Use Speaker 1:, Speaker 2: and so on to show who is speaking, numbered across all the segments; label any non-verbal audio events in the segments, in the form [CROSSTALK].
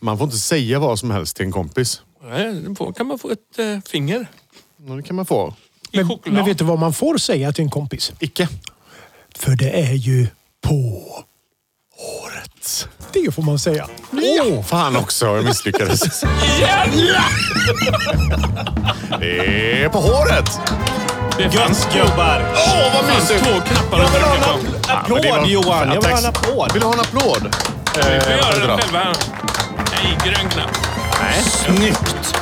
Speaker 1: Man får inte säga vad som helst till en kompis.
Speaker 2: Nej, då får- kan man få ett eh, finger
Speaker 1: Ja, Det kan man få.
Speaker 2: i
Speaker 3: Men,
Speaker 2: choklad.
Speaker 3: men vet du vad man får säga till en kompis?
Speaker 1: Icke.
Speaker 3: För det är ju på håret. Det får man säga.
Speaker 1: Åh, fan också. Jag misslyckades. Det är på håret!
Speaker 2: det fanns två,
Speaker 4: gubbar!
Speaker 1: Åh, vad mysigt!
Speaker 2: Alltså, två knappar att trycka på.
Speaker 1: Ja, men
Speaker 4: Applåd
Speaker 1: det var-
Speaker 4: Johan! Jag vill ha en applåd.
Speaker 1: Vill du ha en applåd?
Speaker 2: Vi
Speaker 1: vad
Speaker 2: får
Speaker 1: heter det?
Speaker 2: göra det själva. här. Nej, grön knapp.
Speaker 4: Snyggt!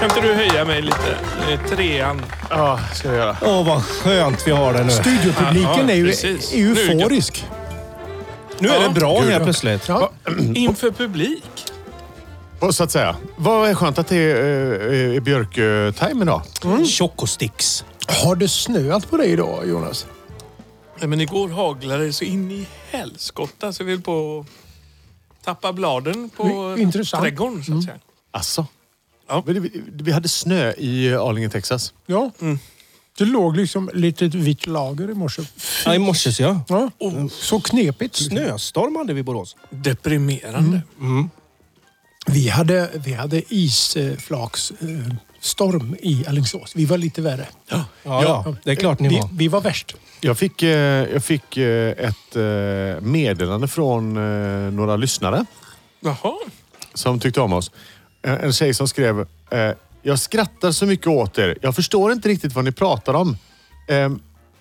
Speaker 2: Kan inte du höja mig lite? Eh, Trean.
Speaker 1: Ja, ska jag göra.
Speaker 4: Åh, vad skönt vi har det nu.
Speaker 3: Studiopubliken
Speaker 2: Ja,
Speaker 3: är ju
Speaker 2: precis.
Speaker 3: är ju
Speaker 2: Nu är det-
Speaker 3: euforisk.
Speaker 4: Nu är det bra
Speaker 3: Gud,
Speaker 4: helt
Speaker 3: ja.
Speaker 4: plötsligt.
Speaker 3: Ja.
Speaker 2: Inför publik.
Speaker 1: Och Så att säga. Vad är skönt att det är, eh, är Björk-time idag.
Speaker 4: Chocosticks.
Speaker 3: Har det snöat på dig idag, Jonas?
Speaker 2: Nej, men igår haglade det så in i helskotta så vi höll på att tappa bladen på
Speaker 3: Mm, intressant. Mm.
Speaker 2: trädgården så att säga.
Speaker 1: Alltså.
Speaker 2: Ja.
Speaker 1: Men det- Vi, vi hade snö i Arlingen, Texas.
Speaker 3: Ja. Mm. Det låg liksom litet vitt lager i morse.
Speaker 4: Ja, i morse så ja.
Speaker 3: Ja. Så knepigt.
Speaker 4: Snöstorm hade vi i Borås.
Speaker 2: Deprimerande.
Speaker 3: Mm. Vi hade, vi hade isflaksstorm i Alingsås. Vi var lite värre.
Speaker 4: Ja, ja. det är klart ni
Speaker 3: vi,
Speaker 4: var.
Speaker 3: Vi var värst.
Speaker 1: Jag fick, eh, jag fick eh, ett eh, meddelande från eh, några lyssnare
Speaker 2: Jaha.
Speaker 1: som tyckte om oss. En, en tjej som skrev eh, “Jag skrattar så mycket åt er. Jag förstår inte riktigt vad ni pratar om. Eh,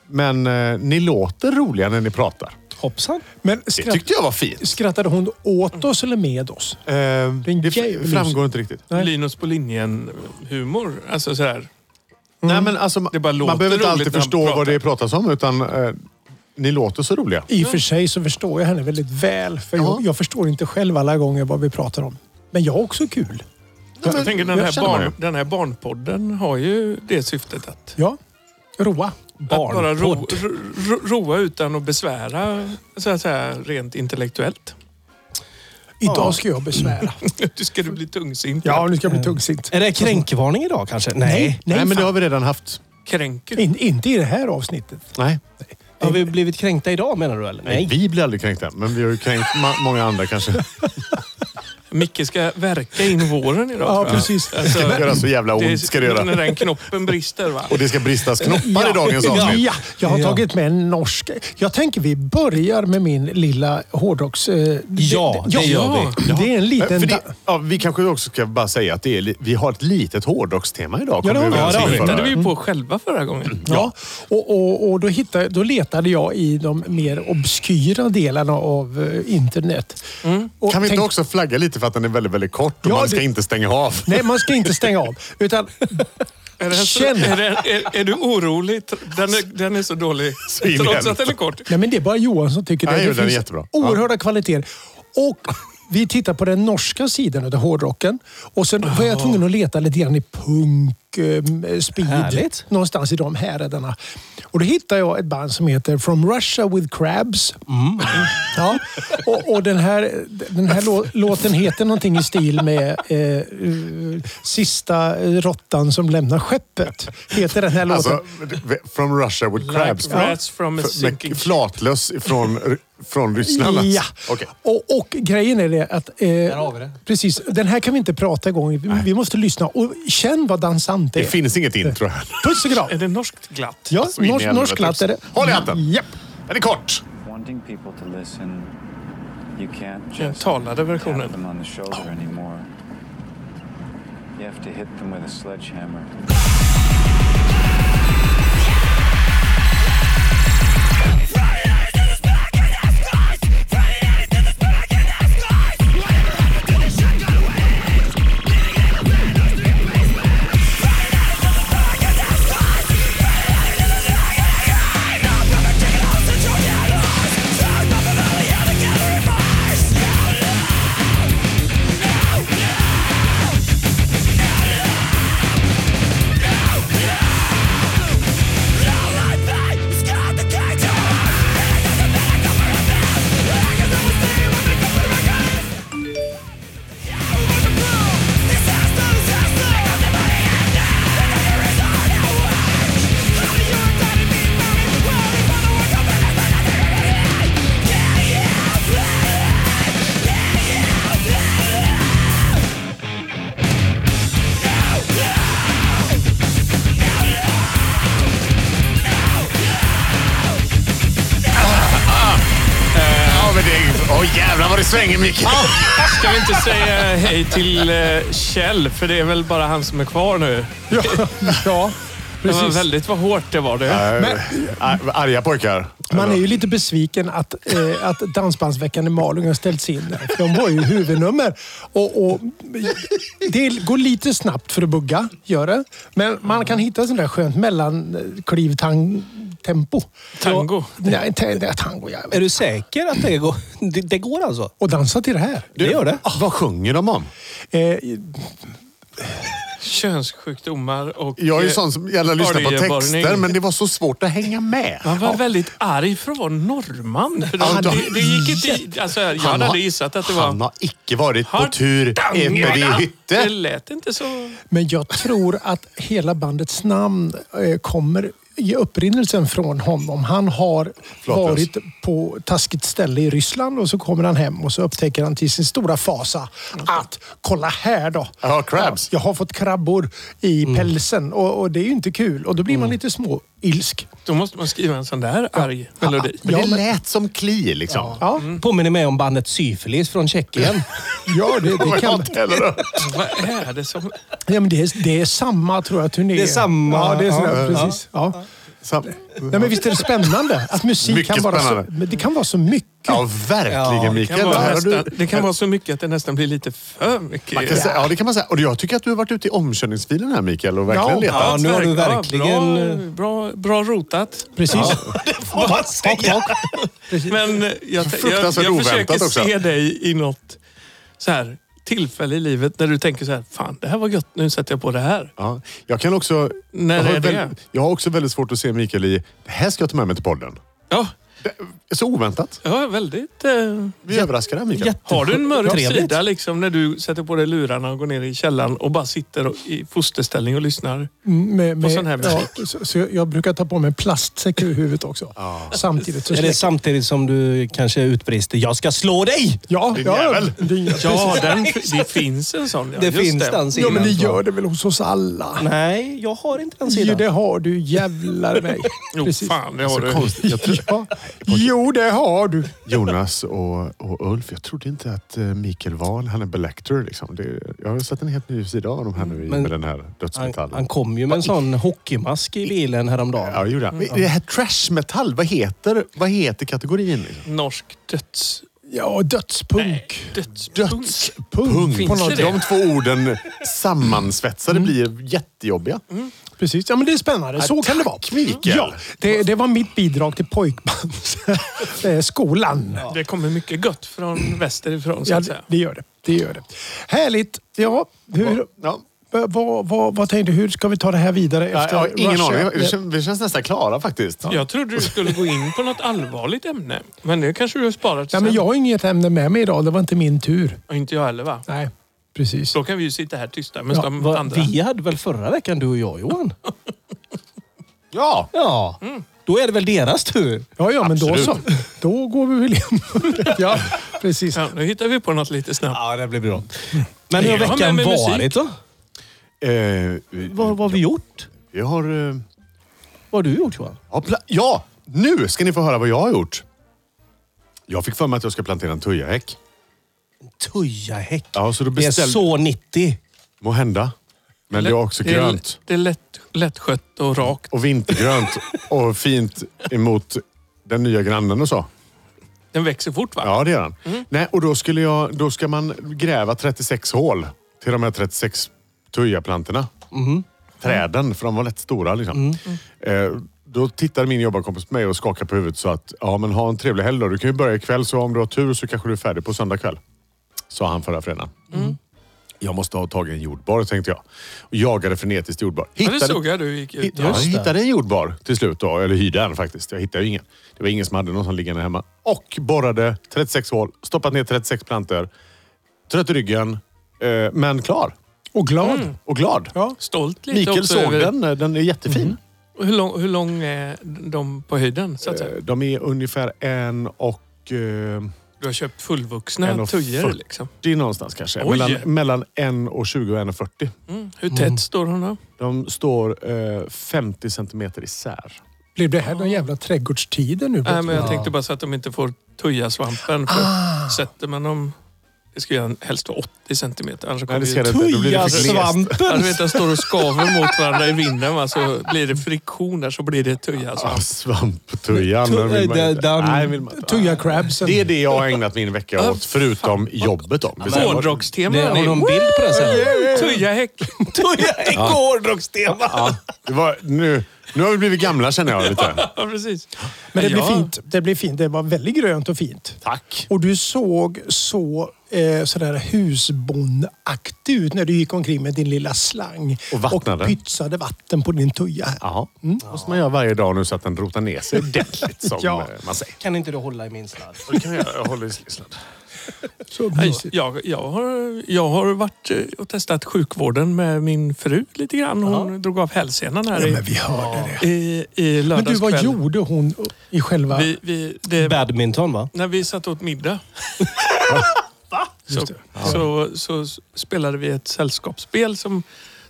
Speaker 1: men eh, ni låter roliga när ni pratar.” Eh,
Speaker 4: Hoppsan.
Speaker 3: Men
Speaker 1: Det
Speaker 3: skratt,
Speaker 1: tyckte jag var fint.
Speaker 3: skrattade hon åt oss eller med oss?
Speaker 1: Eh,
Speaker 3: en
Speaker 1: det
Speaker 3: jävla
Speaker 1: f- framgår inte riktigt.
Speaker 3: Nej.
Speaker 2: Linus på linjen-humor. Alltså sådär.
Speaker 1: Nej, men alltså,
Speaker 2: Det bara låter
Speaker 1: man behöver inte
Speaker 2: roligt
Speaker 1: alltid
Speaker 2: när han
Speaker 1: förstå vad
Speaker 2: pratar.
Speaker 1: det pratas om, utan eh, ni låter så roliga.
Speaker 3: I och för sig så förstår jag henne väldigt väl. För
Speaker 1: Ja.
Speaker 3: jag, jag förstår inte själv alla gånger vad vi pratar om. Men jag har också
Speaker 1: Ja,
Speaker 3: kul.
Speaker 1: men
Speaker 2: Jag tänker den
Speaker 1: jag
Speaker 2: här,
Speaker 1: känner
Speaker 2: barn,
Speaker 1: mig.
Speaker 2: den här barnpodden har ju det syftet att,
Speaker 3: Ja. Roa.
Speaker 2: att bara ro,
Speaker 4: Barnpodd.
Speaker 2: ro, ro, roa utan att besvära så att säga, rent intellektuellt. [LAUGHS]
Speaker 3: Idag ska jag besvära.
Speaker 2: Du ska du bli tungsint.
Speaker 3: Ja, nu ska jag bli tungsint.
Speaker 4: Är det kränkvarning idag kanske?
Speaker 3: Nej,
Speaker 1: Nej, men det
Speaker 3: fan.
Speaker 1: har vi redan haft.
Speaker 2: Kränker.
Speaker 3: In, inte i det här avsnittet.
Speaker 1: Nej.
Speaker 4: Har vi blivit kränkta idag menar du eller?
Speaker 1: Nej. Vi blir aldrig kränkta, men vi har ju kränkt ma- många andra [LAUGHS] kanske.
Speaker 2: Micke ska verka in våren idag.
Speaker 3: Ja,
Speaker 2: tror jag.
Speaker 3: precis.
Speaker 2: Alltså,
Speaker 1: Det ska göra så jävla
Speaker 2: det är-
Speaker 1: ont. Ska det göra. [LAUGHS]
Speaker 2: När den knoppen brister va?
Speaker 1: Och det ska bristas knoppar i dagens
Speaker 3: [LAUGHS] Ja,
Speaker 1: avsnitt.
Speaker 3: ja, jag har
Speaker 4: Ja.
Speaker 3: tagit med en norsk. Jag tänker vi börjar med min lilla hårdrocks... eh,
Speaker 4: Ja, det gör vi.
Speaker 3: ja. Det är en
Speaker 1: Eh,
Speaker 3: liten...
Speaker 1: För
Speaker 3: Det...
Speaker 1: det, ja, vi kanske också ska bara säga att det är, li- vi har ett litet hårdrockstema idag.
Speaker 3: Ja, det
Speaker 1: kom vi
Speaker 3: har
Speaker 1: överens
Speaker 3: vi.
Speaker 4: Ja,
Speaker 1: om
Speaker 4: det har vi.
Speaker 1: förra-
Speaker 2: hittade vi ju på själva förra
Speaker 1: Mm.
Speaker 2: gången.
Speaker 3: Ja, och, och, och då, hittade, då letade jag i de mer obskyra delarna av eh, internet. Och
Speaker 1: Mm. Kan vi inte
Speaker 3: tänk-
Speaker 1: också flagga lite för att den är väldigt, väldigt kort och
Speaker 3: Ja,
Speaker 1: man ska
Speaker 3: [LAUGHS] det-
Speaker 1: inte stänga av?
Speaker 3: Nej, man ska inte stänga av.
Speaker 1: [LAUGHS]
Speaker 2: Är,
Speaker 3: Utan
Speaker 2: det här så,
Speaker 3: Känn.
Speaker 2: är, det, är, är du orolig? Den är, den är
Speaker 1: [LAUGHS]
Speaker 2: så dålig.
Speaker 1: Så in i
Speaker 2: Trots att
Speaker 1: helvete.
Speaker 2: den är kort.
Speaker 3: Nej, men det är bara Johan som tycker det.
Speaker 1: Nej,
Speaker 3: det
Speaker 1: den är jättebra. Ja.
Speaker 3: oerhörda kvaliteter. Och vi tittar på den norska sidan av hårdrocken. Och sen var jag tvungen att leta lite grann i punk, eh, speed.
Speaker 4: Härligt.
Speaker 3: Någonstans i de häraderna. Och då hittade jag ett band som heter From Russia with Crabs.
Speaker 1: Mm.
Speaker 3: Ja. Och, och den här, den här lå, låten heter någonting i stil med eh, eh, Sista råttan som lämnar skeppet. Heter den här låten.
Speaker 1: Alltså, from Russia with crabs.
Speaker 2: Like rats from a
Speaker 1: F-
Speaker 2: sinking
Speaker 1: med flatlöss från, från Ryssland. alltså.
Speaker 3: Ja.
Speaker 1: Okej.
Speaker 3: Och, och grejen är det att... Eh,
Speaker 4: har vi det.
Speaker 3: Precis. Den här kan vi inte prata igång. Vi, vi måste lyssna och känn vad dansant
Speaker 1: Det
Speaker 3: är.
Speaker 1: finns inget intro här.
Speaker 3: Puss och kram!
Speaker 2: Är det norskt glatt?
Speaker 3: Ja,
Speaker 1: Så in i
Speaker 3: norsk,
Speaker 1: helvete.
Speaker 3: norsk glatt är det.
Speaker 1: Håll i hatten!
Speaker 3: Japp.
Speaker 1: Den är kort.
Speaker 5: wanting people to listen, you can't
Speaker 2: Den
Speaker 5: just tap
Speaker 2: talade versionen.
Speaker 5: them on the shoulder anymore. You have to hit them with a sledgehammer.
Speaker 6: Now
Speaker 1: Jävlar vad det svänger Micke!
Speaker 3: Äh,
Speaker 2: Ah, Ska vi inte säga hej till eh, Kjell? För det är väl bara han som är kvar nu. [LAUGHS]
Speaker 3: Ja, ja
Speaker 2: Det var
Speaker 3: precis.
Speaker 2: väldigt vad hårt det var. Det.
Speaker 1: Men... Äh, Arga pojkar.
Speaker 3: Man är ju lite besviken att, eh, att Dansbandsveckan i Malung har ställts in. För De var ju huvudnummer. Och, och, det går lite snabbt för att bugga, gör det. Men man kan hitta sån där skönt mellanklivtempo.
Speaker 2: Tango.
Speaker 3: Nej, ta- det är tango. Jag
Speaker 4: Är du säker att det går? [LAUGHS] Det, det går alltså?
Speaker 3: och dansa till det här.
Speaker 4: Det gör det.
Speaker 1: Vad sjunger de om?
Speaker 3: Eh,
Speaker 2: Könssjukdomar och...
Speaker 1: Jag är ju
Speaker 2: eh,
Speaker 1: sån som gärna lyssnar på
Speaker 2: orgelborrning.
Speaker 1: texter, men det var så svårt att hänga med.
Speaker 2: Han var väldigt arg för att vara norrman.
Speaker 1: Han-
Speaker 2: det, det gick inte, i- alltså, jag hade aldrig gissat att det var...
Speaker 1: Han har icke varit på
Speaker 2: Har-
Speaker 1: tur uppe vid
Speaker 2: Det
Speaker 1: hytte.
Speaker 2: lät inte så...
Speaker 3: men jag tror att hela bandets namn eh, kommer i upprinnelsen från honom. Han har
Speaker 1: Förlåt,
Speaker 3: varit på taskigt ställe i Ryssland och så kommer han hem och så upptäcker han till sin stora fasa att kolla här då.
Speaker 1: Jag har crabs.
Speaker 3: Jag har fått krabbor i pälsen och, och det är ju inte kul. Och då blir man lite små ilsk.
Speaker 2: Då måste man skriva en sån där arg melodi.
Speaker 1: Men
Speaker 3: Ja,
Speaker 1: det
Speaker 3: men-
Speaker 1: lät som Kli liksom.
Speaker 3: Ja,
Speaker 4: Påminner mig om bandet Syfilis från Tjeckien.
Speaker 3: ja [LAUGHS] det, det
Speaker 1: Vad
Speaker 3: kan...
Speaker 1: åt helvete.
Speaker 2: Vad är det som...
Speaker 3: Ja, men det, är, det är samma tror jag turné.
Speaker 4: Det är samma,
Speaker 3: Ja, det är sådär,
Speaker 4: ja.
Speaker 3: precis. Ja.
Speaker 1: Sam-
Speaker 3: Nej, men visst är det spännande att musik
Speaker 1: Mycket
Speaker 3: kan vara
Speaker 1: spännande.
Speaker 3: så, men det kan vara så mycket.
Speaker 1: Ja, verkligen
Speaker 4: Ja, det
Speaker 2: Det kan,
Speaker 1: Mikael.
Speaker 2: vara
Speaker 1: Här har
Speaker 2: nästan,
Speaker 1: du-
Speaker 2: det kan vara så mycket att det nästan blir lite för mycket.
Speaker 1: Man kan säga, ja, det kan man säga. Och jag tycker att du har varit ute i omkörningsfilen här Mikael och verkligen
Speaker 3: Ja.
Speaker 1: letat.
Speaker 4: Ja, nu har du
Speaker 2: Ja,
Speaker 4: verkligen-
Speaker 2: bra, bra, bra rotat.
Speaker 3: Precis.
Speaker 2: Men eh, jag, jag, jag,
Speaker 1: Fruktansvärt oväntat
Speaker 2: försöker
Speaker 1: också.
Speaker 2: se dig i något så här tillfälle i livet när du tänker så här, fan det här var gött, nu sätter jag på det här.
Speaker 1: Ja. Jag kan också...
Speaker 2: När
Speaker 1: jag, har
Speaker 2: är det?
Speaker 1: väl- jag har också väldigt svårt att se Mikael i... Det här ska jag ta med mig till podden.
Speaker 2: Ja,
Speaker 1: Så oväntat.
Speaker 2: ja väldigt... Eh,
Speaker 1: Vi överraskar dig Mikael.
Speaker 2: har du en mörk
Speaker 4: Trevligt.
Speaker 2: sida liksom när du sätter på dig lurarna och går ner i källaren och bara sitter och, i fosterställning och lyssnar?
Speaker 3: Mm, Med, med,
Speaker 2: sån här musik.
Speaker 3: ja, så, så jag brukar ta på mig en plastsäck över huvudet också. Samtidigt. Så
Speaker 4: Är det samtidigt som du kanske utbrister “Jag ska slå dig!”
Speaker 3: ja,
Speaker 1: Din
Speaker 3: ja,
Speaker 1: jävel.
Speaker 3: din-
Speaker 2: Ja, den, [LAUGHS] det finns en sån. Ja,
Speaker 4: Det
Speaker 2: just
Speaker 4: finns den
Speaker 3: ja,
Speaker 4: sidan.
Speaker 3: men det
Speaker 4: tror jag.
Speaker 3: gör det väl hos oss alla?
Speaker 4: Nej, jag har inte den
Speaker 3: Jo,
Speaker 4: sidan.
Speaker 3: det har du. Jävlar mig.
Speaker 2: Jo,
Speaker 3: Precis.
Speaker 2: fan det har
Speaker 1: Så
Speaker 2: du.
Speaker 1: konstigt. Jag tror,
Speaker 3: Ja. Jo, det har du.
Speaker 1: Jonas och, och Ulf, jag trodde inte att eh, Mikael var en Hannibal Lecter. Liksom. Det, jag har sett en helt ny sida av dem här nu i-
Speaker 4: Men-
Speaker 1: med den här
Speaker 4: Han,
Speaker 1: dödsmetallen.
Speaker 4: han kom ju med en sån hockeymask i bilen häromdagen.
Speaker 1: Ja, det gjorde han. Men Det här trash metal, vad heter, vad heter kategorin? liksom?
Speaker 2: Norsk döds...
Speaker 3: Ja, dödspunk.
Speaker 2: Dödspunk.
Speaker 1: Dödspunk. På
Speaker 2: Finns
Speaker 1: något,
Speaker 2: det det?
Speaker 1: de två orden sammansvetsade blir jättejobbiga.
Speaker 3: Precis. Ja, men det är spännande. Så kan det vara.
Speaker 1: Mikael.
Speaker 3: Ja, det, det var mitt bidrag till [LAUGHS] pojkbandsskolan.
Speaker 2: Det kommer mycket gött från västerifrån så
Speaker 3: Ja,
Speaker 2: att
Speaker 3: det,
Speaker 2: säga.
Speaker 3: det gör det. Det gör det. Härligt. Ja, hur,
Speaker 1: Ja.
Speaker 3: Eh, Vad, vad, vad tänkte du? Hur ska vi ta det här vidare?
Speaker 1: Ja,
Speaker 3: Efter
Speaker 1: ja, ingen
Speaker 3: Russia?
Speaker 1: aning. Vi känns, vi känns nästan klara faktiskt.
Speaker 2: Jag trodde du skulle gå in på något allvarligt ämne. Men det kanske du har sparat till
Speaker 3: Nej, men
Speaker 2: sen.
Speaker 3: jag har inget ämne med mig idag. Det var inte min tur.
Speaker 2: Och inte jag heller va?
Speaker 3: Nej, precis.
Speaker 2: Då kan vi ju sitta här tysta med
Speaker 3: Ja,
Speaker 2: de
Speaker 4: Va,
Speaker 2: andra.
Speaker 4: vi hade väl förra veckan du och jag Johan?
Speaker 1: Ja,
Speaker 4: [LAUGHS] Ja.
Speaker 2: Mm.
Speaker 4: Då är det väl deras tur?
Speaker 3: Ja, ja, men då
Speaker 1: Absolut.
Speaker 3: så. [LAUGHS] Då går vi väl in. ja, precis.
Speaker 2: Ja, nu hittar vi på något lite snabbt.
Speaker 4: Ja, det blir bra. Men hur har
Speaker 2: Ja,
Speaker 4: veckan
Speaker 2: men med musik.
Speaker 4: varit då?
Speaker 1: eh,
Speaker 4: Vad, vad har vi gjort?
Speaker 1: jag har... eh,
Speaker 4: Vad har du gjort Johan?
Speaker 1: Ja, pla- ja, nu ska ni få höra vad jag har gjort. Jag fick för mig att jag ska plantera en tujahäck.
Speaker 4: Tujahäck.
Speaker 1: Ja, så då
Speaker 4: det är
Speaker 1: beställde...
Speaker 4: så 90.
Speaker 1: Må hända. Men det är också
Speaker 2: Det är-
Speaker 1: grönt.
Speaker 2: Det är lätt, lättskött och rakt.
Speaker 1: Och vintergrönt. Och fint emot den nya grannen och så.
Speaker 2: Den växer fort va?
Speaker 1: Ja, det gör han.
Speaker 2: Mm.
Speaker 1: Nej, och då, skulle jag, då ska man gräva 36 hål till de här 36 tujaplantorna.
Speaker 2: Mm.
Speaker 1: Träden, för de var lätt stora. Liksom. Eh, då tittar min jobbarkompis på mig och skakar på huvudet så att ja, men ha en trevlig helg då. Du kan ju börja ikväll så om du har tur så kanske du är färdig på söndag kväll. Sa han förra fredagen.
Speaker 2: Mm.
Speaker 1: Jag måste ha tagit en jordborr tänkte jag. Och jagade frenetiskt jordborr.
Speaker 2: Ja, det såg jag du gick ut.
Speaker 1: Ja,
Speaker 4: Just
Speaker 1: jag
Speaker 4: det.
Speaker 1: hittade en jordbar till slut då, eller hyrde en faktiskt. Jag hittade ju ingen. Det var ingen som hade någon som liggande hemma. Och borrade 36 hål, stoppat ner 36 plantor. Trött i ryggen, eh, men klar. Mm.
Speaker 3: Och glad.
Speaker 1: Och glad.
Speaker 3: Ja.
Speaker 2: Stolt lite
Speaker 1: Mikael
Speaker 2: också.
Speaker 1: såg
Speaker 2: över- Mm.
Speaker 1: den, eh, den är jättefin.
Speaker 2: Hur lång, hur lång är de på höjden? Så att säga?
Speaker 1: Eh, De är ungefär en och... Eh,
Speaker 2: Du har köpt fullvuxna
Speaker 1: 1,40.
Speaker 2: tujor liksom.
Speaker 1: det är någonstans kanske.
Speaker 2: Oj.
Speaker 1: Mellan, mellan 1 och 20 och 1,40.
Speaker 2: Mm. Hur tätt står de då?
Speaker 1: De står eh, 50 centimeter isär.
Speaker 3: Blev det här någon jävla trädgårdstider nu?
Speaker 2: Nej, men jag tänkte bara så att de inte får tuja svampen. För Sätter man dem... Det ska ju helst vara 80 centimeter. Annars
Speaker 1: Nej,
Speaker 2: kommer
Speaker 1: det
Speaker 2: ju-
Speaker 1: ska det inte. Då blir det
Speaker 4: Tuja
Speaker 1: för glest.
Speaker 2: Ja,
Speaker 4: svampen!
Speaker 2: du vet, de står och skaver mot varandra i vinden. Va? Så blir det friktion där så blir det tuja.
Speaker 1: Ah,
Speaker 2: svamp.
Speaker 1: Svamptujan.
Speaker 4: Tu-
Speaker 1: den vill man
Speaker 4: eh,
Speaker 1: inte.
Speaker 4: den-
Speaker 1: Nej, vill man inte.
Speaker 3: Tuja crabsen.
Speaker 1: Det är det jag har ägnat min vecka åt, förutom jobbet. då. Precis.
Speaker 2: Hårdrockstema.
Speaker 4: Det, har
Speaker 2: hörni.
Speaker 4: du en bild på det sen?
Speaker 2: Tuja häck.
Speaker 4: Tuja i hårdrockstema!
Speaker 1: Ja, det var, nu, nu har vi blivit gamla känner jag lite.
Speaker 2: Ja, precis.
Speaker 3: Men det blir
Speaker 2: Ja.
Speaker 3: fint. Det blir fint. Det var väldigt grönt och fint.
Speaker 1: Tack.
Speaker 3: Och du såg så eh, sådär husbondaktig ut när du gick omkring med din lilla slang.
Speaker 1: Och vattnade.
Speaker 3: Och pytsade vatten på din tuja.
Speaker 1: Ja, måste man göra varje dag nu så att den rotar ner sig ordentligt som
Speaker 3: Ja.
Speaker 1: eh, man säger.
Speaker 4: Kan inte du hålla i min sladd?
Speaker 1: Det kan jag, göra. jag håller i slisslan.
Speaker 3: Så
Speaker 2: Nej,
Speaker 3: mysigt.
Speaker 2: Jag, jag, har, jag har varit eh, och testat sjukvården med min fru lite grann. Hon drog av hälsenan här
Speaker 3: Ja,
Speaker 2: i,
Speaker 3: men vi hörde det.
Speaker 2: i, i
Speaker 3: Men du,
Speaker 2: lördagskväll.
Speaker 3: vad gjorde hon i själva...
Speaker 2: vi, vi, det,
Speaker 4: Badminton va?
Speaker 2: När vi satt åt
Speaker 4: [LAUGHS]
Speaker 2: middag. så, så, så spelade vi ett sällskapsspel som,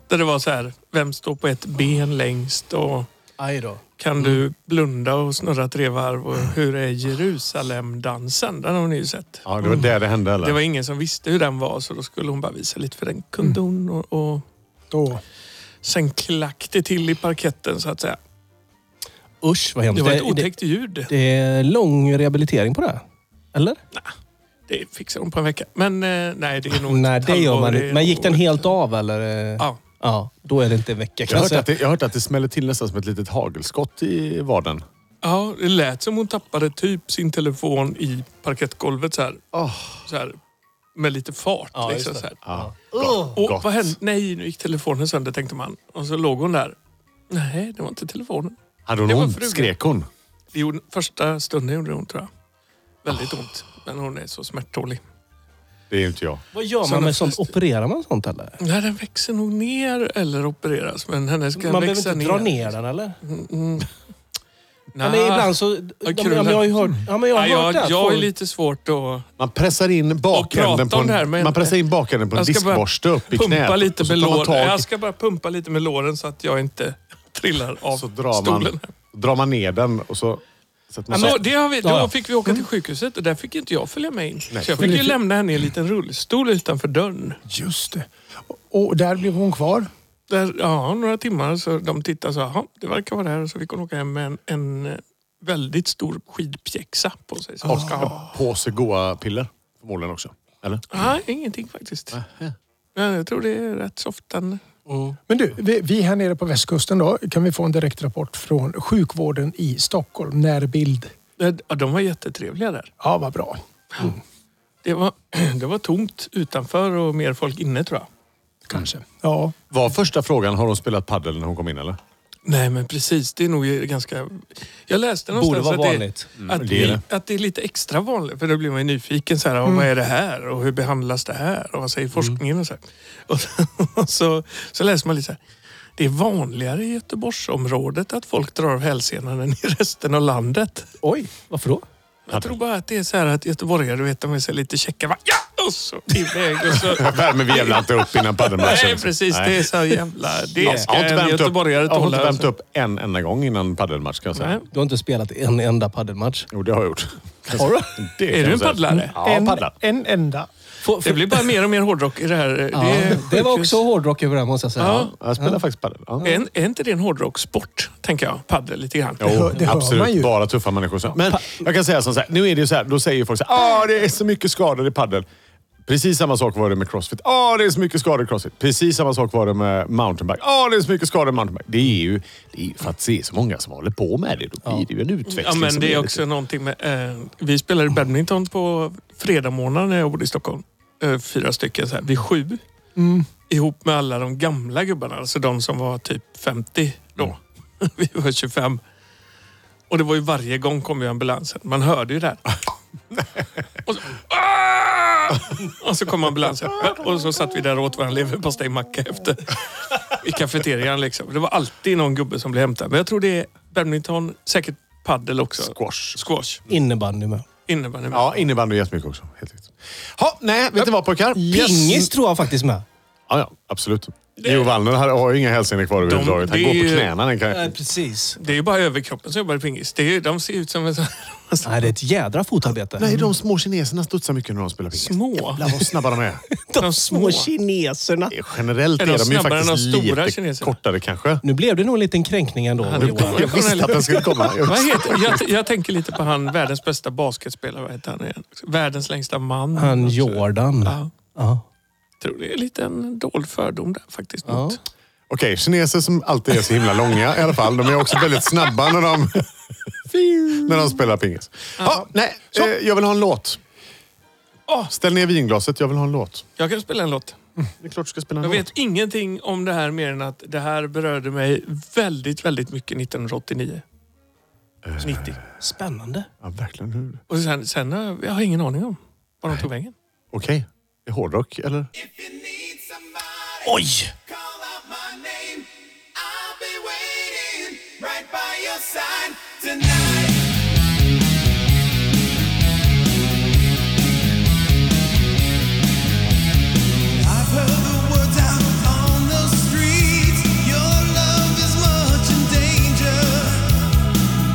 Speaker 2: där det var så här, vem står på ett ben längst och
Speaker 4: Aj då.
Speaker 2: kan
Speaker 4: Mm.
Speaker 2: du blunda och snurra tre varv och hur är Jerusalemdansen? Den har ni ju sett.
Speaker 1: Ja, det var där det hände eller?
Speaker 2: Det var ingen som visste hur den var så då skulle hon bara visa lite för den kunde hon
Speaker 4: Mm.
Speaker 2: och, och
Speaker 3: Då.
Speaker 2: sen klack det till i parketten så att säga.
Speaker 4: Usch vad hemskt.
Speaker 2: Det var ett
Speaker 4: det,
Speaker 2: otäckt ljud.
Speaker 4: det är lång rehabilitering på det. här. Eller?
Speaker 2: Det fixar hon på en vecka. Men eh, nej, det är nog
Speaker 4: Nej,
Speaker 2: ett
Speaker 4: det gör
Speaker 2: halvår,
Speaker 4: man
Speaker 2: det är
Speaker 4: inte. Men gick
Speaker 2: nog
Speaker 4: den
Speaker 2: ett-
Speaker 4: helt av eller? eh?
Speaker 2: Ja.
Speaker 4: Ja, då är det inte en vecka
Speaker 1: jag,
Speaker 4: kan
Speaker 1: har
Speaker 4: jag
Speaker 1: hört
Speaker 4: säga.
Speaker 1: att det, jag har hört att det smäller till nästan som ett litet hagelskott i vaden.
Speaker 2: Ja, det lät som hon tappade typ sin telefon i parkettgolvet så här. Så här med lite fart.
Speaker 4: Oh. Ja,
Speaker 2: liksom,
Speaker 4: just det.
Speaker 2: så här.
Speaker 1: Ja.
Speaker 2: Och
Speaker 1: Gott.
Speaker 2: vad hände? Nej, nu gick telefonen sönder tänkte man. Och så låg hon där. Nej, det var inte telefonen.
Speaker 1: Hade hon
Speaker 2: Det var
Speaker 1: ont?
Speaker 2: frugan.
Speaker 1: Skrek hon?
Speaker 2: Det gjorde, första stunden gjorde det ont tror jag.
Speaker 4: Ah.
Speaker 2: Väldigt ont. Men hon är så smärttålig.
Speaker 1: Det är ju inte jag.
Speaker 4: Vad gör man
Speaker 2: Sådana
Speaker 4: med sånt?
Speaker 2: fest-
Speaker 4: Opererar man sånt eller?
Speaker 2: Nej, den växer nog ner eller opereras. Men hennes kan
Speaker 4: Man behöver
Speaker 2: växa
Speaker 4: inte dra ner den eller?
Speaker 2: Nej,
Speaker 4: Eller ibland så... De, ja, men jag har ju hört, ja, men jag har
Speaker 2: Nej,
Speaker 4: hört
Speaker 2: jag,
Speaker 4: det. att
Speaker 2: jag är
Speaker 4: folk-
Speaker 2: lite svårt att...
Speaker 1: Man pressar in
Speaker 2: prata
Speaker 1: bakänden
Speaker 2: om
Speaker 1: på en,
Speaker 2: det här med-
Speaker 1: man pressar in bakänden på en
Speaker 2: Jag ska bara
Speaker 1: diskborste upp i knät.
Speaker 2: pumpa lite
Speaker 1: och så
Speaker 2: med
Speaker 1: tar man
Speaker 2: låren.
Speaker 1: tag-
Speaker 2: Jag ska bara pumpa lite med låren så att jag inte [LAUGHS] trillar av
Speaker 1: Så drar
Speaker 2: stolen.
Speaker 1: man, drar man ner den och så sätter man
Speaker 2: Så
Speaker 1: så.
Speaker 2: det har vi,
Speaker 4: Ja,
Speaker 2: då
Speaker 4: ja. Mm.
Speaker 2: fick vi åka till sjukhuset och där fick inte jag följa med in.
Speaker 1: Nej.
Speaker 2: Så jag fick ju lämna henne i en liten rullstol utanför dörren.
Speaker 3: Just det. Och, och där blev hon kvar.
Speaker 2: Där, ja, några timmar så de tittade och sa "Jaha, det verkar vara det här. Och Så fick hon åka hem med en, en eh, väldigt stor skidpjäxa på sig.
Speaker 1: Ah.
Speaker 2: Som hon ska ha.
Speaker 1: På sig goa piller förmodligen också. Eller?
Speaker 2: Nej, ingenting faktiskt. Men jag tror det är rätt soft. Den.
Speaker 3: Men du, vi, vi här nere på västkusten då, kan vi få en direkt rapport från sjukvården i Stockholm, närbild.
Speaker 2: Ja, de var jättetrevliga där.
Speaker 3: Ja, vad bra.
Speaker 2: Det var, [CLEARS THROAT] det var tomt utanför och mer folk inne tror jag.
Speaker 3: Kanske. Ja.
Speaker 1: Var första frågan, har hon spelat padel när hon kom in eller? [LAUGHS]
Speaker 2: Nej, men precis. Det är nog ganska... Jag läste någonstans
Speaker 4: vara
Speaker 2: att,
Speaker 4: vanligt.
Speaker 2: Det, att,
Speaker 1: det är
Speaker 2: det. att det är lite extra vanligt. För då blir man ju nyfiken. Så här, "Ja, Vad är det här? Och hur behandlas det här? Och vad säger forskningen? Och så, här. [LAUGHS] och så, så läser man lite så här. Det är vanligare i Göteborgsområdet att folk drar av hälsenan än i resten av landet.
Speaker 4: Oj, varför då?
Speaker 2: Jag tror bara att det är så här att göteborgare, du vet, de är så lite checka. Va? Ja! Och så iväg. Och så,
Speaker 1: Värmer vi jävla inte upp innan padelmatchen.
Speaker 2: nej, precis. Det är så
Speaker 1: [LAUGHS]
Speaker 2: här jävla...
Speaker 1: Jag
Speaker 2: Det ska
Speaker 1: har inte
Speaker 2: en
Speaker 1: värmt upp,
Speaker 2: göteborgare
Speaker 1: jag har inte
Speaker 2: tåla. alltså.
Speaker 1: värmt upp en enda gång innan padelmatch kan jag säga.
Speaker 2: Nej.
Speaker 4: Du har inte spelat en enda paddelmatch.
Speaker 1: Jo, det har jag gjort.
Speaker 4: Har du?
Speaker 1: Det kan
Speaker 2: Är du
Speaker 1: jag
Speaker 2: en
Speaker 1: säga.
Speaker 2: paddlare?
Speaker 1: Ja,
Speaker 3: en,
Speaker 1: paddlar.
Speaker 3: en enda.
Speaker 4: Får-
Speaker 2: Det
Speaker 4: får-
Speaker 2: blir bara mer och mer hårdrock i det här. Det
Speaker 4: Ja,
Speaker 2: är
Speaker 4: det var
Speaker 2: sjukhus.
Speaker 4: också hårdrock över det här, måste jag säga.
Speaker 2: Ja.
Speaker 1: Jag spelar faktiskt padel. Ja.
Speaker 2: Är, är inte det en hårdrocksport, tänker jag? Padel lite grann. [LAUGHS]
Speaker 1: Jo,
Speaker 3: hör- det hör
Speaker 1: absolut.
Speaker 3: man ju.
Speaker 1: Bara tuffa människor. Så. Men jag kan säga som så här, nu är det ju så här, då säger ju folk så här, ah, det är så mycket skador i padel. Precis samma sak var det med crossfit. Ah, det är så mycket skador i crossfit. Precis samma sak var det med mountainbike. Ah, det är så mycket skador i mountainbike. Det är ju det är ju för att se så många som håller på med det. Då blir det ju en utveckling.
Speaker 2: Ja, men
Speaker 1: som
Speaker 2: det är
Speaker 1: lite-
Speaker 2: också någonting med... Eh, vi spelade badminton på fredag morgon när jag bodde i Stockholm. Eh, fyra stycken, så här, vid sju.
Speaker 4: Mm.
Speaker 2: Ihop med alla de gamla gubbarna, alltså de som var typ 50 då.
Speaker 1: Mm.
Speaker 2: [LAUGHS] vi var 25. Och det var ju varje gång kom ju ambulansen. Man hörde ju det här.
Speaker 1: [LAUGHS]
Speaker 2: och, så, "Ah!" och så kom ambulansen. Och så satt vi där och åt varandra leverpastejmacka efter. I kafeterian liksom. Det var alltid någon gubbe som blev hämtad. Men jag tror det är badminton, säkert paddel också.
Speaker 1: Squash.
Speaker 2: Squash.
Speaker 4: Innebandy med.
Speaker 2: Innebandy. med.
Speaker 1: Ja, innebandy jättemycket också. Helt riktigt. Ha, nej, vet ni vad pojkar?
Speaker 3: Mm.
Speaker 4: Pingis tror jag faktiskt med.
Speaker 1: Ja, ja, absolut. Jo, Wallner har- har ju inga hälsenor kvar överhuvudtaget. Han
Speaker 2: det
Speaker 1: går
Speaker 2: är
Speaker 1: på
Speaker 2: ju-
Speaker 1: knäna. Den kan...
Speaker 4: Nej, precis.
Speaker 2: Det är ju bara överkroppen som jobbar i pingis. Det är, ju- de ser ut som en sån här [LAUGHS]
Speaker 4: Nej, det är ett jädra fotarbete.
Speaker 1: Nej, de små kineserna studsar mycket när de spelar pingis.
Speaker 2: små.
Speaker 1: Jävlar vad snabba de är.
Speaker 2: de små.
Speaker 4: kineserna.
Speaker 1: Generellt
Speaker 2: Är
Speaker 1: är
Speaker 2: de
Speaker 1: de, ju
Speaker 2: snabbare än de
Speaker 1: faktiskt
Speaker 2: stora
Speaker 1: lite
Speaker 2: kineserna?
Speaker 1: kortare kanske.
Speaker 4: Nu blev det nog en liten kränkning ändå. Johan.
Speaker 1: Jag visste att den skulle komma. Jag- [LAUGHS]
Speaker 2: Vad heter, jag, jag tänker lite på han, världens bästa basketspelare. Vad heter han igen? Världens längsta man.
Speaker 4: Han Jordan.
Speaker 2: Ja,
Speaker 4: Ja.
Speaker 2: tror det är lite en dold fördom där faktiskt. Mot.
Speaker 1: Okej, kineser som alltid är så himla långa i alla fall. De är också väldigt snabba när de, när de spelar pingis. Ja, nej, eh, jag vill ha en låt.
Speaker 2: Åh.
Speaker 1: Ställ ner vinglaset, jag vill ha en låt.
Speaker 2: Jag kan spela en låt.
Speaker 1: Det är klart du ska spela en
Speaker 2: Jag
Speaker 1: låt.
Speaker 2: vet ingenting om det här mer än att det här berörde mig väldigt, väldigt mycket 1989.
Speaker 4: Eh.
Speaker 2: 90.
Speaker 4: Spännande.
Speaker 1: Ja, verkligen. hur-
Speaker 2: Och sen, sen har jag, jag har ingen aning om var de tog vägen.
Speaker 1: Okej, det är hårdrock eller?
Speaker 4: Oj!
Speaker 6: Call out my name. I'll be waiting right by your side tonight. I've heard the words out on the streets. Your love is much in danger.